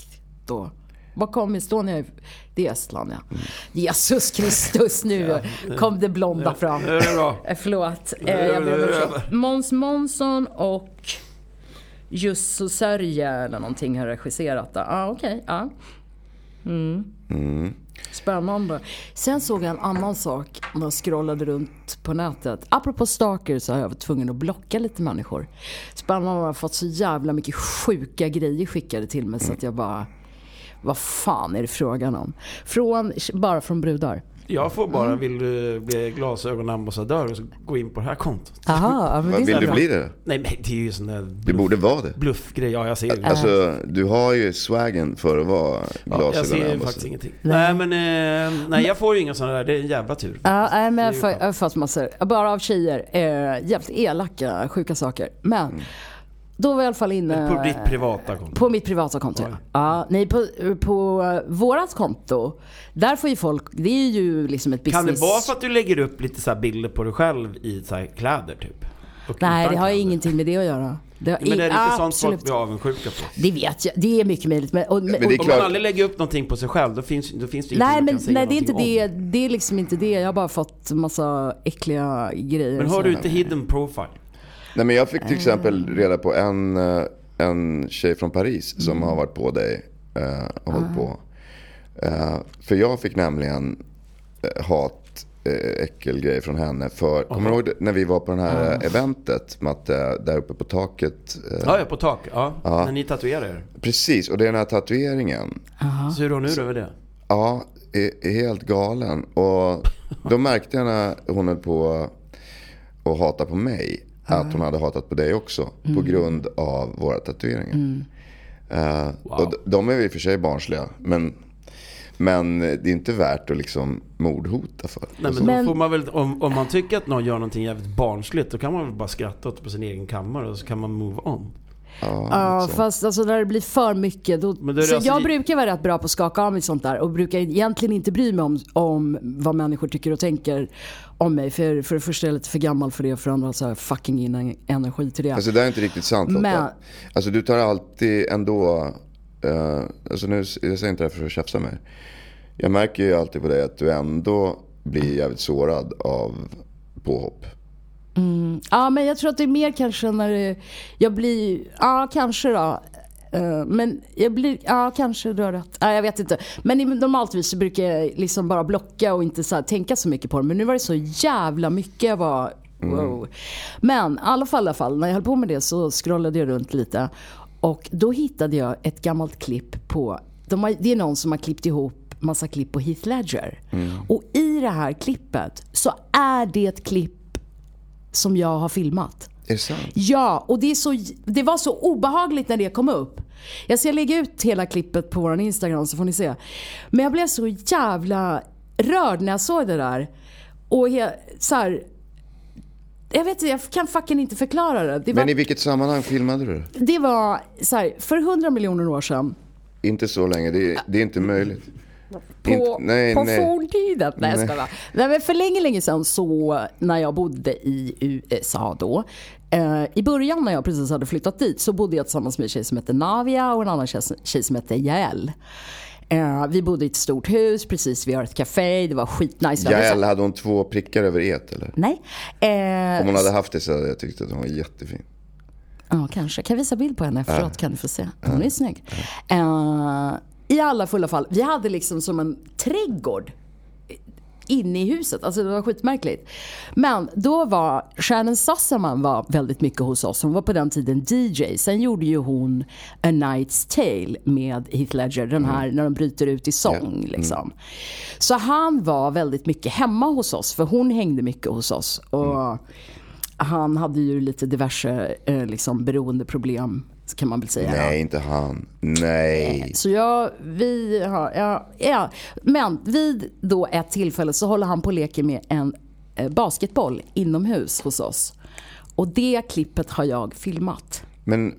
då. Var kom Estonia ifrån? Det är Estland ja. Jesus Kristus nu kom det blonda fram. Nu är det bra. Eh, Förlåt. Eh, är jag ber om över. ursäkt. Måns Månsson och Jusso Sörje eller någonting har regisserat det. Ah, okej. ja. Mm. Mm. Spännande. Sen såg jag en annan sak när jag scrollade runt på nätet. Apropå stalker så har jag varit tvungen att blocka lite människor. Spännande, jag har fått så jävla mycket sjuka grejer skickade till mig så att jag bara... Vad fan är det frågan om? Från, bara från brudar. Jag får bara, Mm. vill du bli glasögonambassadör och så gå in på det här kontot? Aha, ja, men det är Vad, Vill så du bra. bli det? Nej men det är ju sån där Det bluff, borde vara det. bluffgrej. Ja, jag ser ju. Alltså, du har ju swaggen för att vara Ja, jag ser ju glasögonambassad. faktiskt ingenting. Nej men, eh, nej jag får ju inga såna där. Det är en jävla tur. Ja, nej, men Det är jag ju får- skönt. jag har fått massor. Bara av tjejer. Eh, jävligt elaka, sjuka saker. Men då var jag i alla fall inne Mm. På ditt privata konto. på mitt privata konto. Ja. Ja, nej, på, på eh, vårat konto, där får ju folk, det är ju liksom ett business. Kan det vara för att du lägger upp lite så här bilder på dig själv i så här kläder typ? Och Nej, utan det har ju kläder. ingenting med det att göra. Det har Men ing- det är lite sånt folk absolut. blir avundsjuka på. Det vet jag, det är mycket möjligt. Men, och, Men det är Om klart. man aldrig lägger upp någonting på sig själv då finns, då finns det ju Nej ingenting man men kan säga nej, det är inte någonting det. om. Det är liksom inte det. Jag har bara fått massa äckliga grejer. Men så. har du inte hidden profile? Nej, men jag fick Eh. till exempel reda på en, eh, en tjej från Paris som Mm. har varit på dig eh, och hållit Ah. på. Eh, För jag fick nämligen eh, hat, eh, äckelgrejer från henne. För, Kommer du ihåg det- när vi var på det här Ah. eh, eventet, Matte, där uppe på taket? eh, Ah, Ja, ja på tak. Ja. När ni tatuerar er. Precis, och det är den här tatueringen. Så hur är hon nu över det? Ja, är- är helt galen. Och då märkte jag när hon höll på att hata på mig att hon hade hatat på dig också på grund av våra tatueringar. Eh, och d- de är ju i och för sig barnsliga, men, men det är inte värt att liksom mordhota för. Nej, men, Men- Då får man väl, om, om man tycker att någon gör någonting jävligt barnsligt då kan man väl bara skratta åt det på sin egen kammare och så kan man move on. Ja, fast alltså när det blir för mycket. Då, Men då är det så alltså jag i- brukar vara rätt bra på att skaka av mig sånt där och brukar egentligen inte bry mig om, om vad människor tycker och tänker om mig. För, för det första är jag lite för gammal för det och för det andra så har jag fucking ingen energi till det. Alltså det där är inte riktigt sant Lotta. Men- Alltså du tar alltid ändå, eh, alltså nu, jag säger inte det här för att tjafsa med dig. Jag märker ju alltid på dig att du ändå blir jävligt sårad av påhopp. Ja men jag tror att det är mer kanske när det, jag blir, ja kanske då. Eh, Men jag blir, ja kanske du har rätt. Ja, jag vet inte. Men i- normaltvis så brukar jag liksom bara blocka och inte så här tänka så mycket på det. Men nu var det så jävla mycket jag var, wow. Men i alla fall, i alla fall, när jag höll på med det så scrollade jag runt lite. Och då hittade jag ett gammalt klipp på, de har, det är någon som har klippt ihop massa klipp på Heath Ledger. Och i det här klippet så är det ett klipp som jag har filmat. Är det sant? Ja, och det, är så, det var så obehagligt när det kom upp. Jag ska lägga ut hela klippet på vår Instagram så får ni se. Men jag blev så jävla rörd när jag såg det där. Och he, så här, jag vet inte, jag kan fucking inte förklara det. Det var, Men i vilket sammanhang filmade du? det var så här, för 100 miljoner år sedan. Inte så länge, det är, det är inte möjligt. På, Inte- nej, på nej. forntiden. Nej, jag Nej. skojar bara. nej. men För länge, länge sedan så när jag bodde i USA då. Eh, I början när jag precis hade flyttat dit så bodde jag tillsammans med en tjej som hette Navia och en annan tjej, tjej som hette Yael. Eh, vi bodde i ett stort hus precis vid ett café. Det var skitnice. Jag hade Jael, så- hade hon två prickar över et eller? Nej. Eh, Om hon hade haft det så hade jag tyckt att hon var jättefin. Ja, kanske. Kan jag visa bild på henne efteråt kan du få se. Hon är snygg. Eh, I alla fulla fall, vi hade liksom som en trädgård inne i huset. Alltså det var skitmärkligt. Men då var Shannon Sassaman var väldigt mycket hos oss. Hon var på den tiden DJ. Sen gjorde ju hon A Night's Tale med Heath Ledger. Den här när de bryter ut i sång. Liksom. Så han var väldigt mycket hemma hos oss. För hon hängde mycket hos oss. Och Han hade ju lite diverse eh, liksom, beroendeproblem kan man väl säga. Nej, inte han. Nej. Så jag, vi har, ja, ja. Men vid då ett tillfälle så håller han på och leker med en eh, basketboll inomhus hos oss. Och det klippet har jag filmat. Men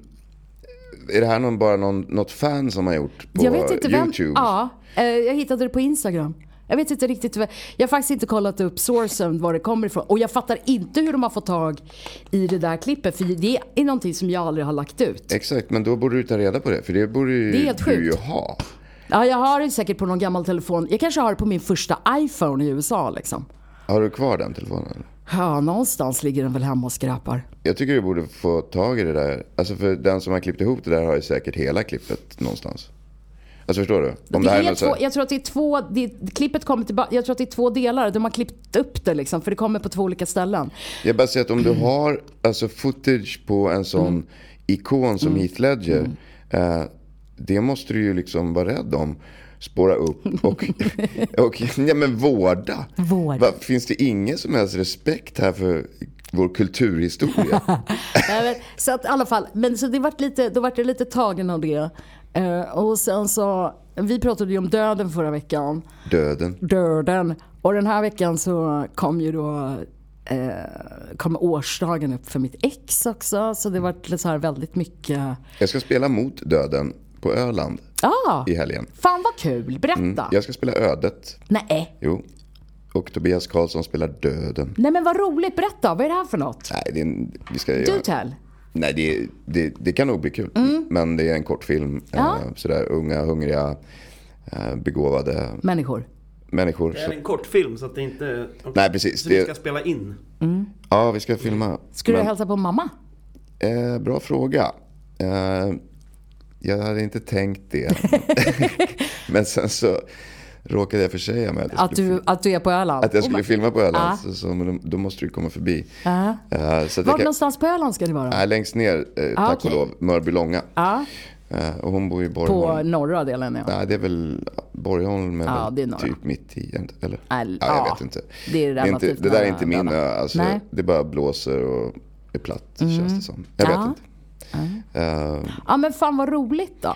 är det här någon, bara någon, något fan som har gjort på jag vet inte vem. YouTube? Ja, eh, jag hittade det på Instagram. Jag vet inte riktigt. vem- Jag har faktiskt inte kollat upp sourcen, var det kommer ifrån. Och jag fattar inte hur de har fått tag i det där klippet. För det är någonting som jag aldrig har lagt ut. Exakt, men då borde du ta reda på det. För det borde ju, Det är helt du ju sjukt. ha. Ja, jag har det säkert på någon gammal telefon. Jag kanske har det på min första iPhone i USA liksom. Har du kvar den telefonen? eller? Ja, någonstans ligger den väl hemma och skräpar. Jag tycker du borde få tag i det där. Alltså för den som har klippt ihop det där har ju säkert hela klippet någonstans. Alltså förstår du? Om det, det här är är något två, så här, jag tror att det är två, det, klippet kommer tillbaka, jag tror att det är två delar. De har klippt upp det liksom, för det kommer på två [laughs] olika ställen. Jag bara säger att om du har alltså footage på en sån ikon som Heath Ledger. Eh, det måste du ju liksom vara rädd om. Spåra upp och, och ja, men vårda. Vårda. Va, finns det ingen som helst respekt här för vår kulturhistoria? Nej, men, Eh, så att i alla fall, men så det vart lite, då vart jag lite tagen av det. Eh, och sen så, vi pratade ju om döden förra veckan. Döden. Döden. Och den här veckan så kom ju då eh, kom årsdagen upp för mitt ex också. Så det vart lite så här väldigt mycket. Jag ska spela mot döden på Öland Ah, i helgen. fan vad kul, berätta. Mm, Jag ska spela ödet. Nej. Jo. Och Tobias Karlsson spelar döden. Nej men vad roligt, berätta. Vad är det här för något? Nej, det är en, vi ska Du göra... tell. Nej, det, det, det kan nog bli kul. Men det är en kortfilm. Mm. Ja. Eh, sådär unga, hungriga, eh, begåvade Människor. människor. Det är Så, en kortfilm så att det inte... Nej, precis. Så vi Det- ska spela in. ja, vi ska filma. Skulle du Men, hälsa på mamma? eh, bra fråga. Eh, jag hade inte tänkt [laughs] det. Men sen så råkade jag försäga mig att jag Att skulle du, att du är på Öland? Att jag skulle Oh, filma på Öland, Ah. så, så, men då- då måste du komma förbi. Ah. Eh, så att Vart jag kan, någonstans på Öland ska det vara? nej, längst ner, eh, Ah, tack okej. och lov, Mörby-Långa. Ja, Eh, och hon bor i på Borgholm. norra delen ja. Nej, det är väl Borgholm är Ja, väl det är några. typ mitt i, är det inte- eller? Eller- ja, jag ja, vet inte. det är inte, relativt det där är nära inte min Öland. ö. Alltså, Nej. Mm. det bara blåser och är platt känns det som. Jag Ja. vet inte. Eh, Ja men fan vad roligt då.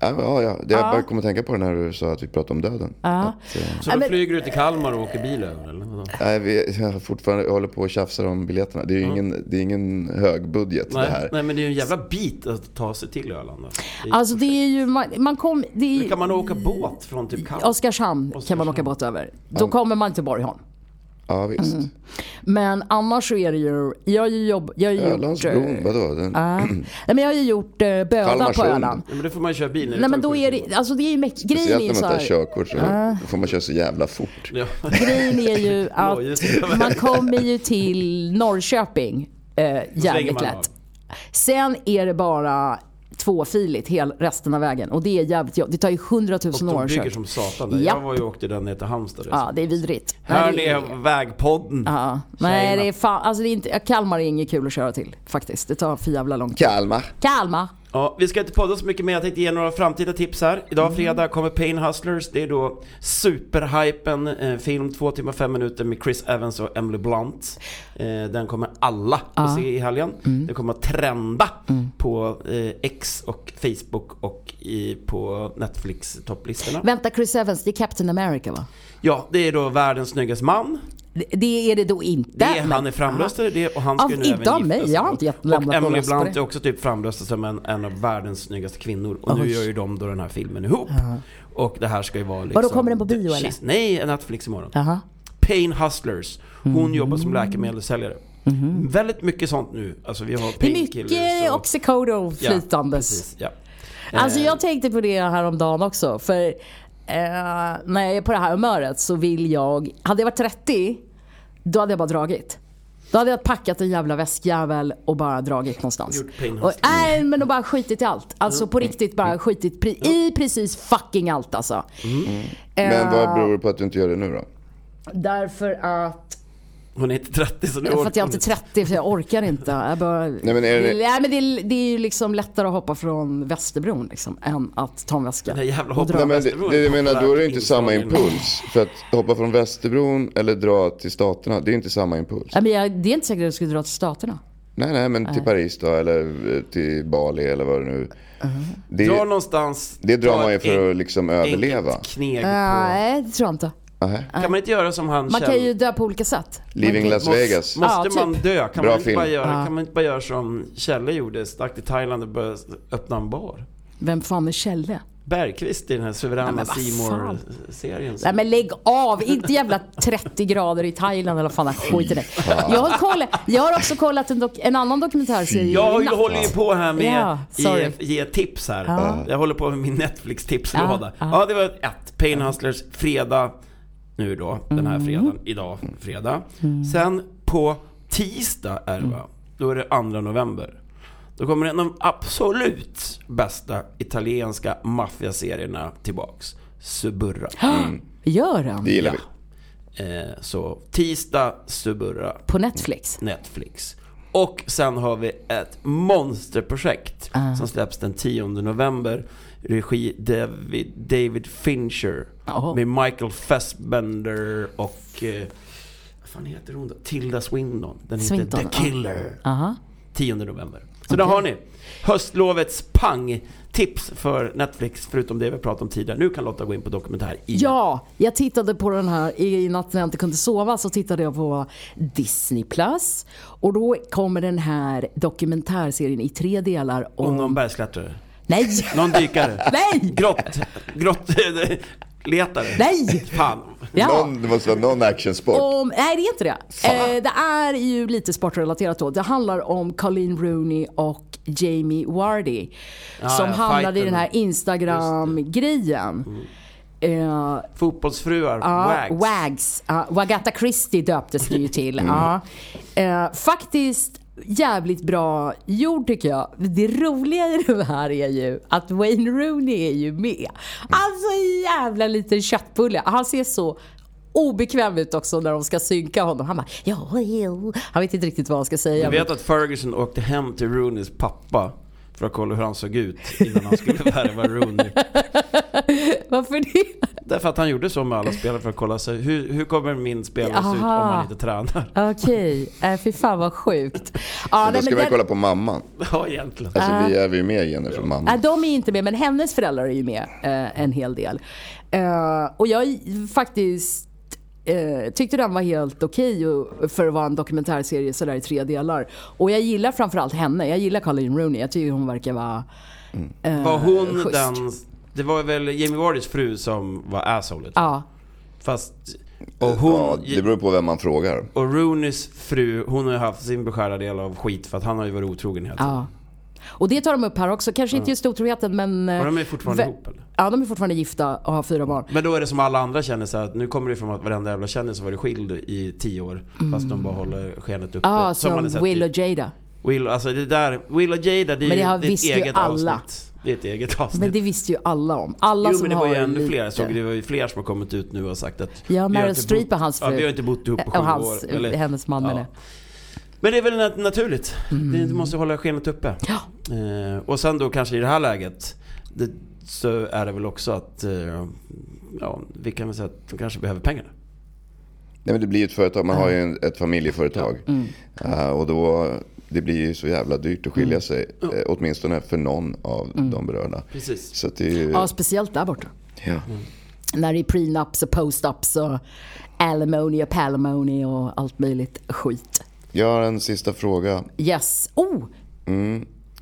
Ja, ja, ja. Det jag bara kom att tänka på det när du sa att vi pratade om döden. Att, eh, Så Ja, då men- flyger du till Kalmar och åker bil över eller? vadå? nej, vi jag har fortfarande jag håller på och tjafsar om biljetterna. Det är ju ingen, det är ingen hög budget det Nej, här. nej men det är ju en jävla bit att ta sig till Öland. Alltså. Det är- Alltså det är ju, man, man kom, det är Hur kan man åka båt från typ Kalmar? Oskarshamn kan man Oskarshamn. åka båt över. Då kommer man till Borgholm. Ja, visst. Mm. Men annars så är det ju, jag har ju jobb, jag har ju gjort, eh, Ölandsbron, vadå? Den, ja. [clears throat] Nej men jag har ju gjort eh, Böda på Kalmarsund. Öland. Nej, men det får man ju köra bil när Nej tar men då sju är det, alltså det är ju, mäkt- grejen speciellt är när ju man så tar här, körkort så då får man köra så jävla fort. timmar. Ja. [laughs] grejen är ju just att det. man kommer ju till Norrköping eh, jävligt man lätt. Sen är det bara tvåfiligt hel, resten av vägen och det är jävligt jobb. Det tar ju hundratusen år De att bygger köra. som satan där. Japp. Jag var ju och åkte den ner till Halmstad. Ja det är vidrigt. Hör Nej, ni det är- vägpodden? Ja. Nej, Tjejerna. det är fan, alltså det är inte, Kalmar är inget kul att köra till faktiskt. Det tar för jävla lång tid. Kalmar. Kalmar! Ja, vi ska inte podda så mycket mer, jag tänkte ge några framtida tips här. Idag Mm. fredag kommer Pain Hustlers, det är då superhypen eh, film, två timmar fem minuter med Chris Evans och Emily Blunt. Eh, den kommer alla Ja. Mm. att se i helgen. Den kommer att trenda på eh, X och Facebook och i, på Netflix topplistorna. Vänta, Chris Evans, det är Captain America va? Ja, det är då världens snyggaste man. Det- Det är det då inte. Det är, men- han är framröstad i det och han ska Av- ju nu inte även av mig, gifta sig. jag har inte gett- lämnat Och någon Emily röst på Blunt det. är också typ framröstad som en, en av världens snyggaste kvinnor. Och nu Oj. gör ju de då den här filmen ihop. Och det här ska ju vara liksom... Vadå, kommer den på bio, the- eller? she's- Nej, Netflix imorgon. Jaha. Mm. Pain Hustlers. Hon jobbar som läkemedelssäljare. Väldigt mycket sånt nu. Alltså vi har Mm-hmm. Det är painkillers mycket oxycodone Ja, flytandes. precis, Ja. Eh, Alltså jag tänkte på det häromdagen också. För eh, när jag är på det här humöret så vill jag... Hade jag varit 30, då hade jag bara dragit. Då hade jag packat en jävla väskjävel och bara dragit någonstans. Gjort pain Och, nej men och bara skitit i allt. Alltså på Mm. riktigt bara skitit pri- i precis fucking allt alltså. Mm. Eh, Men vad beror det på att du inte gör det nu då? Därför att... Hon är inte 30 så nu För att jag orkar inte hon är 30 för jag orkar inte. Jag bara, nej men är det- men det, är, det är ju liksom lättare att hoppa från Västerbron liksom, än att ta en väska. Den här jävla och dra. hoppen. Nej, men Västerbron det, det är jag menar, då är det inte populärt samma inslag i- impuls. För att hoppa från Västerbron eller dra till Staterna, det är inte samma impuls. Nej, men jag, det är inte säkert att jag skulle dra till Staterna. Nej, nej, men Äh. till Paris då eller eh, till Bali eller vad det nu Uh-huh. Dra det, någonstans. det drar ta man ju ett för en- att liksom överleva. enkelt kneg på... Nej, det tror jag inte. Aha. Kan man inte göra som han Man Kjell- kan ju dö på olika sätt. Leaving Las Vegas. Måste Ja, typ. man dö? Kan Bra man, inte bara film. göra, kan man inte bara göra som Kjelle gjorde? Stack till Thailand och började öppna en bar? Vem fan är Kjelle? Bergqvist i den här suveräna men vad fan. seymour serien Nej men lägg av! Inte jävla 30 grader i Thailand eller vad fan jag skiter i det. Jag har, kollat, jag har också kollat en, dok- en annan dokumentärserie Jag har ju- i natt. håller ju på här med Ja, sorry. ge, ge tips här. Jag håller på med min Netflix-tipslåda. Ja, Ja, det var ett. Pain Hustlers, fredag. Nu då, den Mm. här fredagen. Idag, fredag. Sen på tisdag är det va? Mm. Då är det 2 november. Då kommer en av de absolut bästa italienska maffiaserierna tillbaks. Suburra. Gör den? Det gillar vi. Eh, så tisdag, Suburra. På Netflix? Netflix. Och sen har vi ett monsterprojekt Ah. som släpps den 10 november. Regi David, David Fincher. Jaha. Med Michael Fassbender och... Eh, vad fan heter hon då? Tilda Swinton. Den heter Swinton, The ja. Killer. Aha. 10 november. Så där har ni. Höstlovets pang-tips för Netflix, förutom det vi pratade om tidigare. Nu kan Lotta gå in på dokumentär igen. Ja, jag tittade på den här i i natt när jag inte kunde sova så tittade jag på Disney Plus och då kommer den här dokumentärserien i tre delar om... Om någon bergsklättrare. Nej! Någon dykare. Nej! Grott... Grott... Letare. Nej! Fan. Ja. Någon, det måste vara någon actionsport. Om, nej, det är inte det. Eh, det är ju lite sportrelaterat då. Det handlar om Colleen Rooney och Jamie Wardy. ja, som hamnade i fighten. den här Instagram-grejen. Mm. Eh, Fotbollsfruar, Ja, wags. Wags. Ja, Wagatha Christie döptes det ju till. Mm. Ja. Eh, faktiskt jävligt bra gjord tycker jag. Det roliga i det här är ju att Wayne Rooney är ju med. Alltså en jävla liten köttbulle. Han ser så obekväm ut också när de ska synka honom. Han bara ja, ja. Han vet inte riktigt vad han ska säga. Jag vet att Ferguson åkte hem till Rooneys pappa för att kolla hur han såg ut innan han skulle [laughs] värva Rooney. Varför det? Därför att han gjorde så med alla spelare för att kolla sig. Hur, hur kommer min spelare se ut om Aha. han inte tränar? [laughs] Okej, okay. fy fan vad sjukt. Ja, Men nej, då ska men vi den- kolla på mamman. Ja, egentligen. Alltså vi är ju med Jenny från Nej, mamman. de är inte med, men hennes föräldrar är ju med eh, en hel del. Eh, och jag är faktiskt eh, tyckte den var helt okej och- för att vara en dokumentärserie sådär i tre delar. Och jag gillar framförallt henne. Jag gillar Colleen Rooney. Jag tycker hon verkar vara... Mm. eh, Var hon schysst. den... Det var väl Jamie Wardys fru som var assholet? Ja. Fast... Och Ja, hon... det beror på vem man frågar. Och Rooneys fru, hon har ju haft sin beskärda del av skit för att han har ju varit otrogen hela tiden. ja. Och det tar de upp här också. Kanske inte just otroheten men... eh, Och de är fortfarande vä- ihop eller? Ja, de är fortfarande gifta och har fyra barn. Men då är det som alla andra kändisar, att nu kommer det ifrån att varenda jävla kändis har varit skild i tio år. Fast de bara håller skenet uppe. Mm. Ja, man har Ah, som sett Will i- och Jada. Will, alltså det där, Will och Jada det är Men det ju har det är ett visst ju eget alla. avsnitt. Det är ett eget avsnitt. Men det visste ju alla om. Alla jo som men det var ju har ännu lite- fler, jag såg det var ju fler som har kommit ut nu och sagt att... vi har Meryl inte Streep bott- och hans Ja, fru. vi har inte bott ihop på Och sju hans- år. eller- hennes man, menar Mm. Men det är väl nat- naturligt. Det- Du måste hålla skenet uppe. Eh, och sen då kanske i det här läget det, så är det väl också att eh, ja, vi kan väl säga att de kanske behöver pengarna. Nej, men det blir ju ett företag. Man har ju en, ett familjeföretag. Mm. Eh, och då, det blir ju så jävla dyrt att Mm. skilja sig. eh, åtminstone för någon av de berörda. Precis. Så att det är ju... Ja, speciellt där borta. Ja. När det är prenups och postups och alimony och palimony och allt möjligt skit. Jag har en sista fråga. Yes. Oh!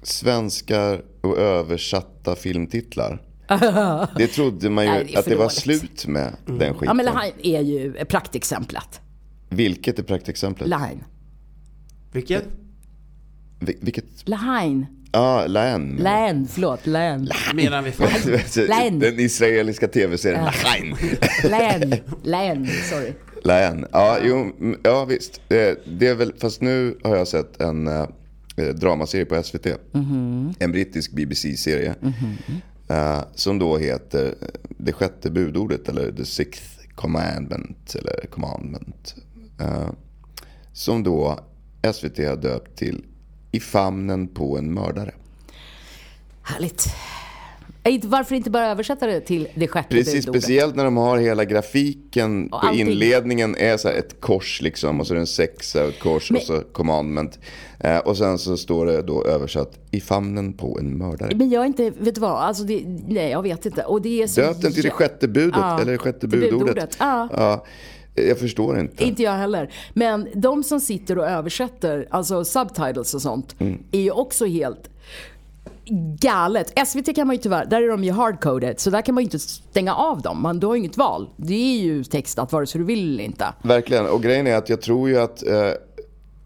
Svenskar och översatta [laughs] filmtitlar. Det trodde man ju Nej, det är att för det var dåligt. slut med den skiten. Ja, men Lahain är ju praktexemplet. Vilket är praktexemplet? Lahain. Vilket? Vi- Vilket? Lahain. Ja, ah, Laen. Lahain, [laughs] förlåt. Lahain. Medan [laughs] vi får. Alltså, Laen. Den israeliska tv-serien Laen. Lahain. Lahain, sorry. Laen. Ja, jo, mm, ja visst. Eh, Det är väl, fast nu har jag sett en eh, eh, dramaserie på SVT. En brittisk BBC-serie. eh, som då heter eh, Det sjätte budordet eller The Sixth Commandment. Eller Commandment. Eh, som då SVT har döpt till I famnen på en mördare. Härligt. Eh, inte- Varför inte bara översätta det till det sjätte Precis, budordet? speciellt när de har hela grafiken Och på allting. inledningen är så här ett kors liksom och så är det en sexa och ett kors Men- och så commandment. Eh, och sen så står det då översatt i famnen på en mördare. Men jag är inte, vet du vad, alltså det, nej jag vet inte. Och det är så Döp den till det sjätte budet Ja, eller det sjätte till budordet. budordet, ja. Eh, Jag förstår inte. Inte jag heller. Men de som sitter och översätter, alltså subtitles och sånt, Mm. är ju också helt galet. SVT kan man ju tyvärr, där är de ju hardcoded, så där kan man ju inte stänga av dem. Man, du har ju inget val. Det är ju textat vare sig du vill eller inte. Verkligen, och grejen är att jag tror ju att, eh,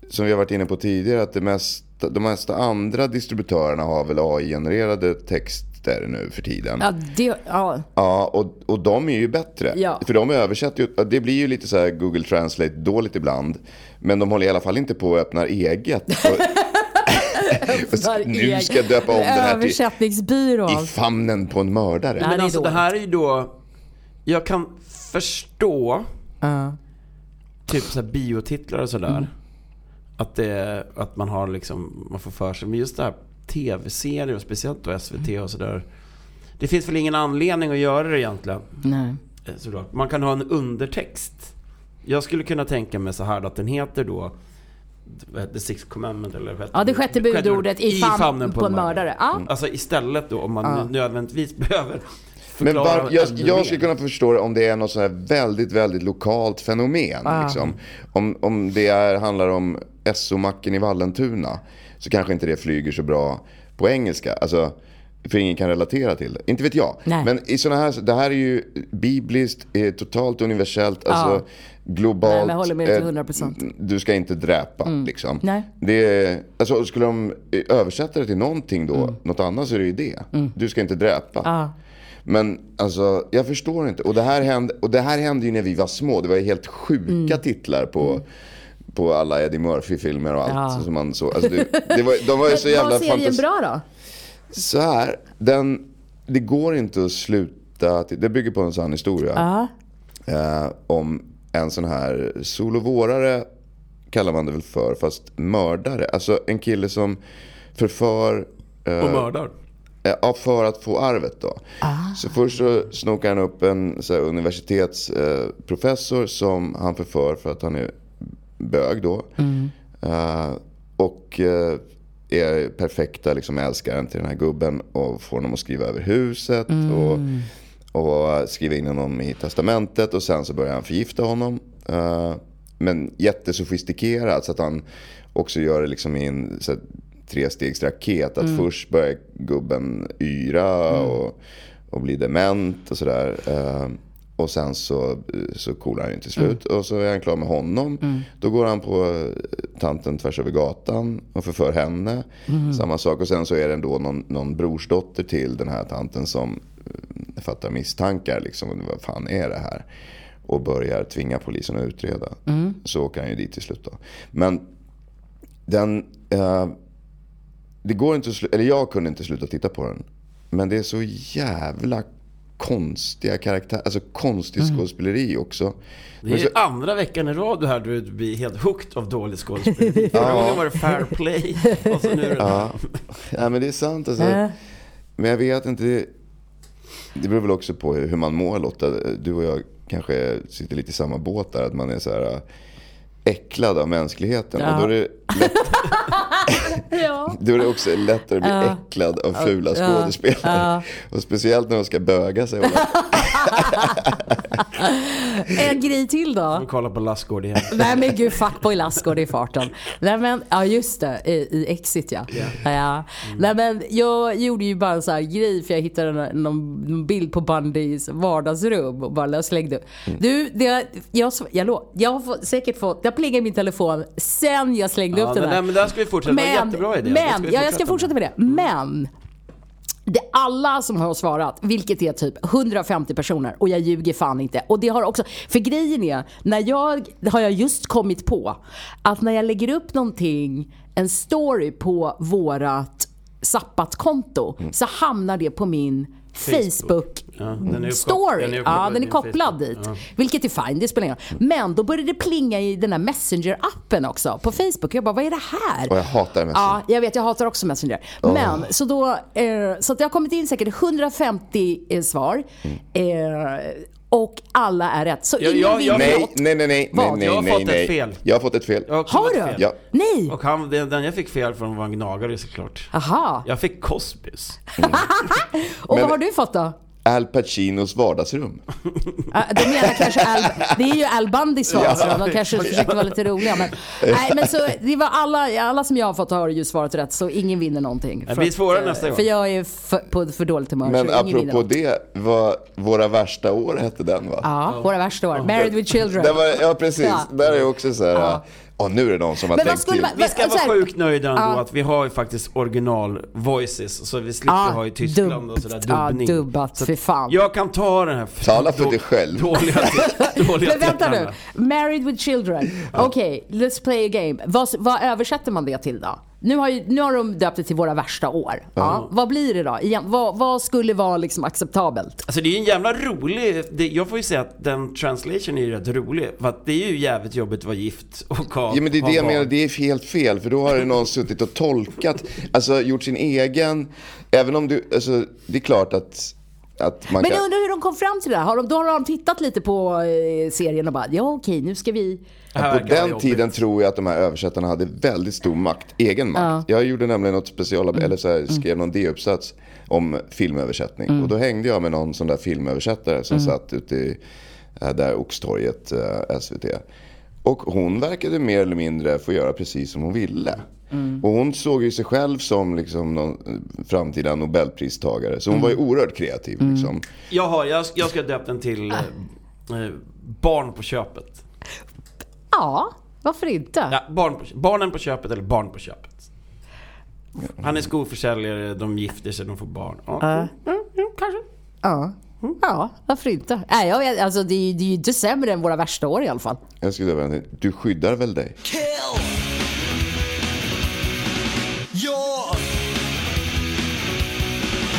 som vi har varit inne på tidigare, att det mesta, de mesta andra distributörerna har väl AI-genererade texter nu för tiden. Ja, det, ja. Ja, och, och de är ju bättre. Ja. För de översätter ju, det blir ju lite så här Google Translate dåligt ibland. Men de håller i alla fall inte på och öppnar eget. Och, och så, [laughs] nu ska jag döpa om den här till Översättningsbyrån. I famnen på en mördare. Nej, Men det är alltså det dåligt. här är ju då... Jag kan förstå typ så här biotitlar och sådär. Att, det, att man har liksom, man får för sig. Men just det här tv-serier och speciellt då SVT och sådär. Det finns väl ingen anledning att göra det egentligen. Nej. Eh, Såklart. Man kan ha en undertext. Jag skulle kunna tänka mig så här att den heter då vad heter det, The Sixth Commandment eller vad heter Ja, det sjätte budordet i, fam- på, en mördare. Ja. Alltså istället då om man nu nödvändigtvis [laughs] behöver Men förklara var, jag, ännu mer. jag skulle kunna förstå det om det är något så här väldigt, väldigt lokalt fenomen. Ah. Liksom. Om, om det är, handlar om SO-macken i Vallentuna så kanske inte det flyger så bra på engelska. Alltså, för ingen kan relatera till det. Inte vet jag. Nej. Men i såna här, det här är ju bibliskt, eh, totalt universellt, alltså globalt. Ah. Nej, men jag håller med dig till eh, 100%. du ska inte dräpa. Liksom. Nej. Det är, alltså, skulle de översätta det till någonting då, Mm. något annat så är det ju det. Du ska inte dräpa. Men alltså, jag förstår inte. Och det, här hände, och det här hände ju när vi var små. Det var ju helt sjuka Mm. titlar på, på alla Eddie Murphy-filmer och allt. Ja. Som man såg. Alltså, det, det var, de var [laughs] ju så jävla Var serien fantas- bra då? Så här, den, det går inte att sluta. Det bygger på en sann historia Ja. eh, om en sån här solovårare kallar man det väl för, fast mördare. Alltså en kille som förför eh, Och mördar. eh, ja, för att få arvet då. Så först så snokar han upp en så här, universitetsprofessor eh, professor som han förför för att han är bög då. Eh, och eh, är perfekta liksom, älskaren till den här gubben och får honom att skriva över huset. Och, och skriva in honom i testamentet och sen så börjar han förgifta honom. Eh, men jättesofistikerat så att han också gör det liksom i en så här, trestegsraket. Att först börjar gubben yra och, och bli dement och sådär. Eh, och sen så, så coolar han ju till slut och så är han klar med honom. Då går han på eh, tanten tvärs över gatan och förför henne. Samma sak och sen så är det ändå någon, någon brorsdotter till den här tanten som eh, fattar misstankar. Liksom, vad fan är det här? Och börjar tvinga polisen att utreda. Mm. Så åker han ju dit till slut då. Men den... Eh, det går inte att slu- eller jag kunde inte sluta titta på den. Men det är så jävla konstiga karaktärer, alltså konstigt skådespeleri också. Mm. Det är ju andra veckan i rad du här du blir helt hooked av dåligt [laughs] skådespel. Förra gången var det fair play och så nu är det... Ja. ja, men det är sant. Alltså. Äh. Men jag vet inte. Det, det beror väl också på hur man mår Lotta. Du och jag kanske sitter lite i samma båt där. Att man är så här äh, äcklad av mänskligheten. Ja. Och då är, det lätt, Ja. då är det också lättare att bli [laughs] Ja. äcklad av fula Ja. skådespelare. Ja. Och speciellt när de ska böga [laughs] sig. och hålla En grej till då. Vi kollar på Lassgård [laughs] igen. Nej men gud, fuckboy Lassgård i farten. Nej men, ja just det, i, i Exit ja. ja. Nej men jag gjorde ju bara en sån här grej för jag hittade en, någon, någon bild på Bundys vardagsrum och bara slängde upp. Mm. Du, det, jag, jag, lo- jag har fått, säkert fått, jag plingar i min telefon sen jag slängde Ja, upp den men, där. nej, men där ska vi fortsätta. det var en jättebra idé. Det Men, vi ja, jag ska fortsätta med det. Mm. Men. Det är alla som har svarat, vilket är typ 150 personer och jag ljuger fan inte. Och det har också, för grejen är, när jag, det har jag just kommit på att när jag lägger upp någonting, en story på vårat Zappat-konto så hamnar det på min Facebook Mm. Ja, den är uppkop- story. den är uppkopplad ja, till den är din kopplad Facebook. dit. Vilket är fine, det spelar ingen roll. Men då började det plinga i den här Messenger-appen också på Facebook. Jag bara, vad är det här? Och jag hatar Messenger. Ja, jag vet. Jag hatar också Messenger. Men, så, då, eh, så att det har kommit in säkert 150 eh, svar. Mm. Eh, och alla är rätt. Så Ja, ingen ja, vinner ja, Nej, något. nej, nej, nej, nej, Vad? nej, Jag har nej, fått ett nej. fel. Jag har fått ett fel. Jag också Har fått du? fel. Ja. Nej! Och han, den, den jag fick fel från var en gnagare såklart. Aha. Jag fick Cosbys. Och men- vad har du fått då? Al Pacinos vardagsrum. Ah, De menar kanske Al, [laughs] det är ju Al Bundys svar, så de kanske försöker vara lite roliga. Men, nej, men så, det var alla, alla som jag har fått har ju svarat rätt, så ingen vinner någonting. Det blir svårare nästa gång. För jag är för, på för dåligt humör, Men så ingen vinner apropå något. det, vad Våra värsta år hette den va? Ja, våra värsta år. Married with children. Där var, ja precis, Ja. där är också så här, äh, ja. nu är det någon som har Men vad tänkt skulle till. man- Vi ska Så vara här- sjukt nöjda ändå Ja. att vi har ju faktiskt original voices så vi slipper Ja, ha i Tyskland och sådär dubbt. Ja, dubbning. dubbat, Så att fy fan. Jag kan ta den här f- Tala för då- dig själv. Dåliga, dåliga [laughs] Men vänta nu. tittarna. Married with children. Okej, let's play a game. Vad, vad översätter man det till då? Nu har, ju, nu har de döpt det till våra värsta år. Ja. Vad blir det då? Igen, vad, vad skulle vara liksom acceptabelt? Alltså det är ju en jävla rolig, det, jag får ju säga att den translation är ju rätt rolig. För att det är ju jävligt jobbigt att vara gift och ha Ja men det är ha det jag barn. menar, det är helt fel. För då har det någon suttit och tolkat, alltså gjort sin egen. Även om du, alltså det är klart att, att man Men jag kan... undrar hur de kom fram till det här. Har de, då har de tittat lite på eh, serien och bara, ja okej nu ska vi... Det här På verkar vara den jobbigt. tiden tror jag att de här översättarna hade väldigt stor makt, egen makt. Jag gjorde nämligen något special, eller så här, skrev någon D-uppsats om filmöversättning. Och då hängde jag med någon sån där filmöversättare som satt ute i eh, där Oxtorget, eh, SVT. Och hon verkade mer eller mindre få göra precis som hon ville. Och hon såg ju sig själv som liksom någon eh, framtida nobelpristagare. Så hon var ju oerhört kreativ. Liksom. Jag har, jag, jag ska döpa den till Ah. eh, eh, Barn på köpet. Ja, varför inte? Ja, barn på, barnen på köpet eller barn på köpet. Han är skoförsäljare, de gifter sig, de får barn. Ja. Ja. Mm, Ja, varför inte? Nej, jag vet, alltså, det, är, ju- det är ju inte sämre än våra värsta år i alla fall. Jag skulle säga, någonting. du skyddar väl dig? Kill your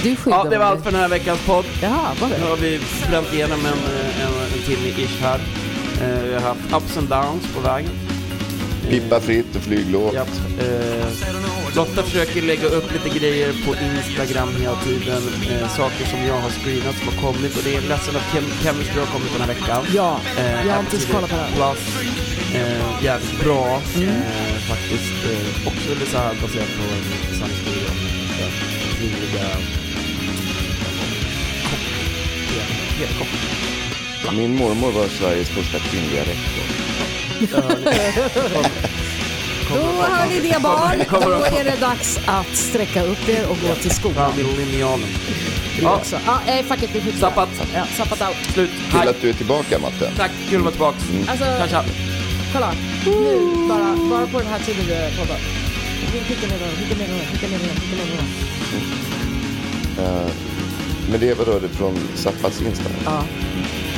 Du skyddar Ja, det var mig. allt för den här veckans podd. Jaha, vad var Nu det? har vi bränt igenom en, eh, en, en timme ish här. Eh, Vi har haft ups and downs på vägen. Pippa fritt och flyg lågt. Japp. Eh, Lotta försöker lägga upp lite grejer på Instagram hela tiden. Eh, saker som jag har screenat som har kommit och det är ledsen att Chem Chemistry har kommit den här veckan. Ja, jag har inte Aptitude kollat på den. Plus, eh, jävligt bra eh, faktiskt. Eh, också lite så här baserat på en sann historia om eh, kvinnliga kock- helkock. Min mormor var Sveriges första kvinnliga rektor. Då hör ni det barn. Då är det dags att sträcka upp er och gå till skolan. Fram i linjalen. Ja, också. Ja, eh, fuck it, vi skiter i det. Zappat. Ja, zappat out. Slut. Kul Tack. att du är tillbaka Matte. Tack. Kul att vara tillbaka. Alltså, Tja, tja. kolla. Nu, bara, bara på den här tiden du är på. bara. Skicka ner den, skicka ner den, skicka ner den, skicka ner den. Men det var då från Zappas Instagram. Ja.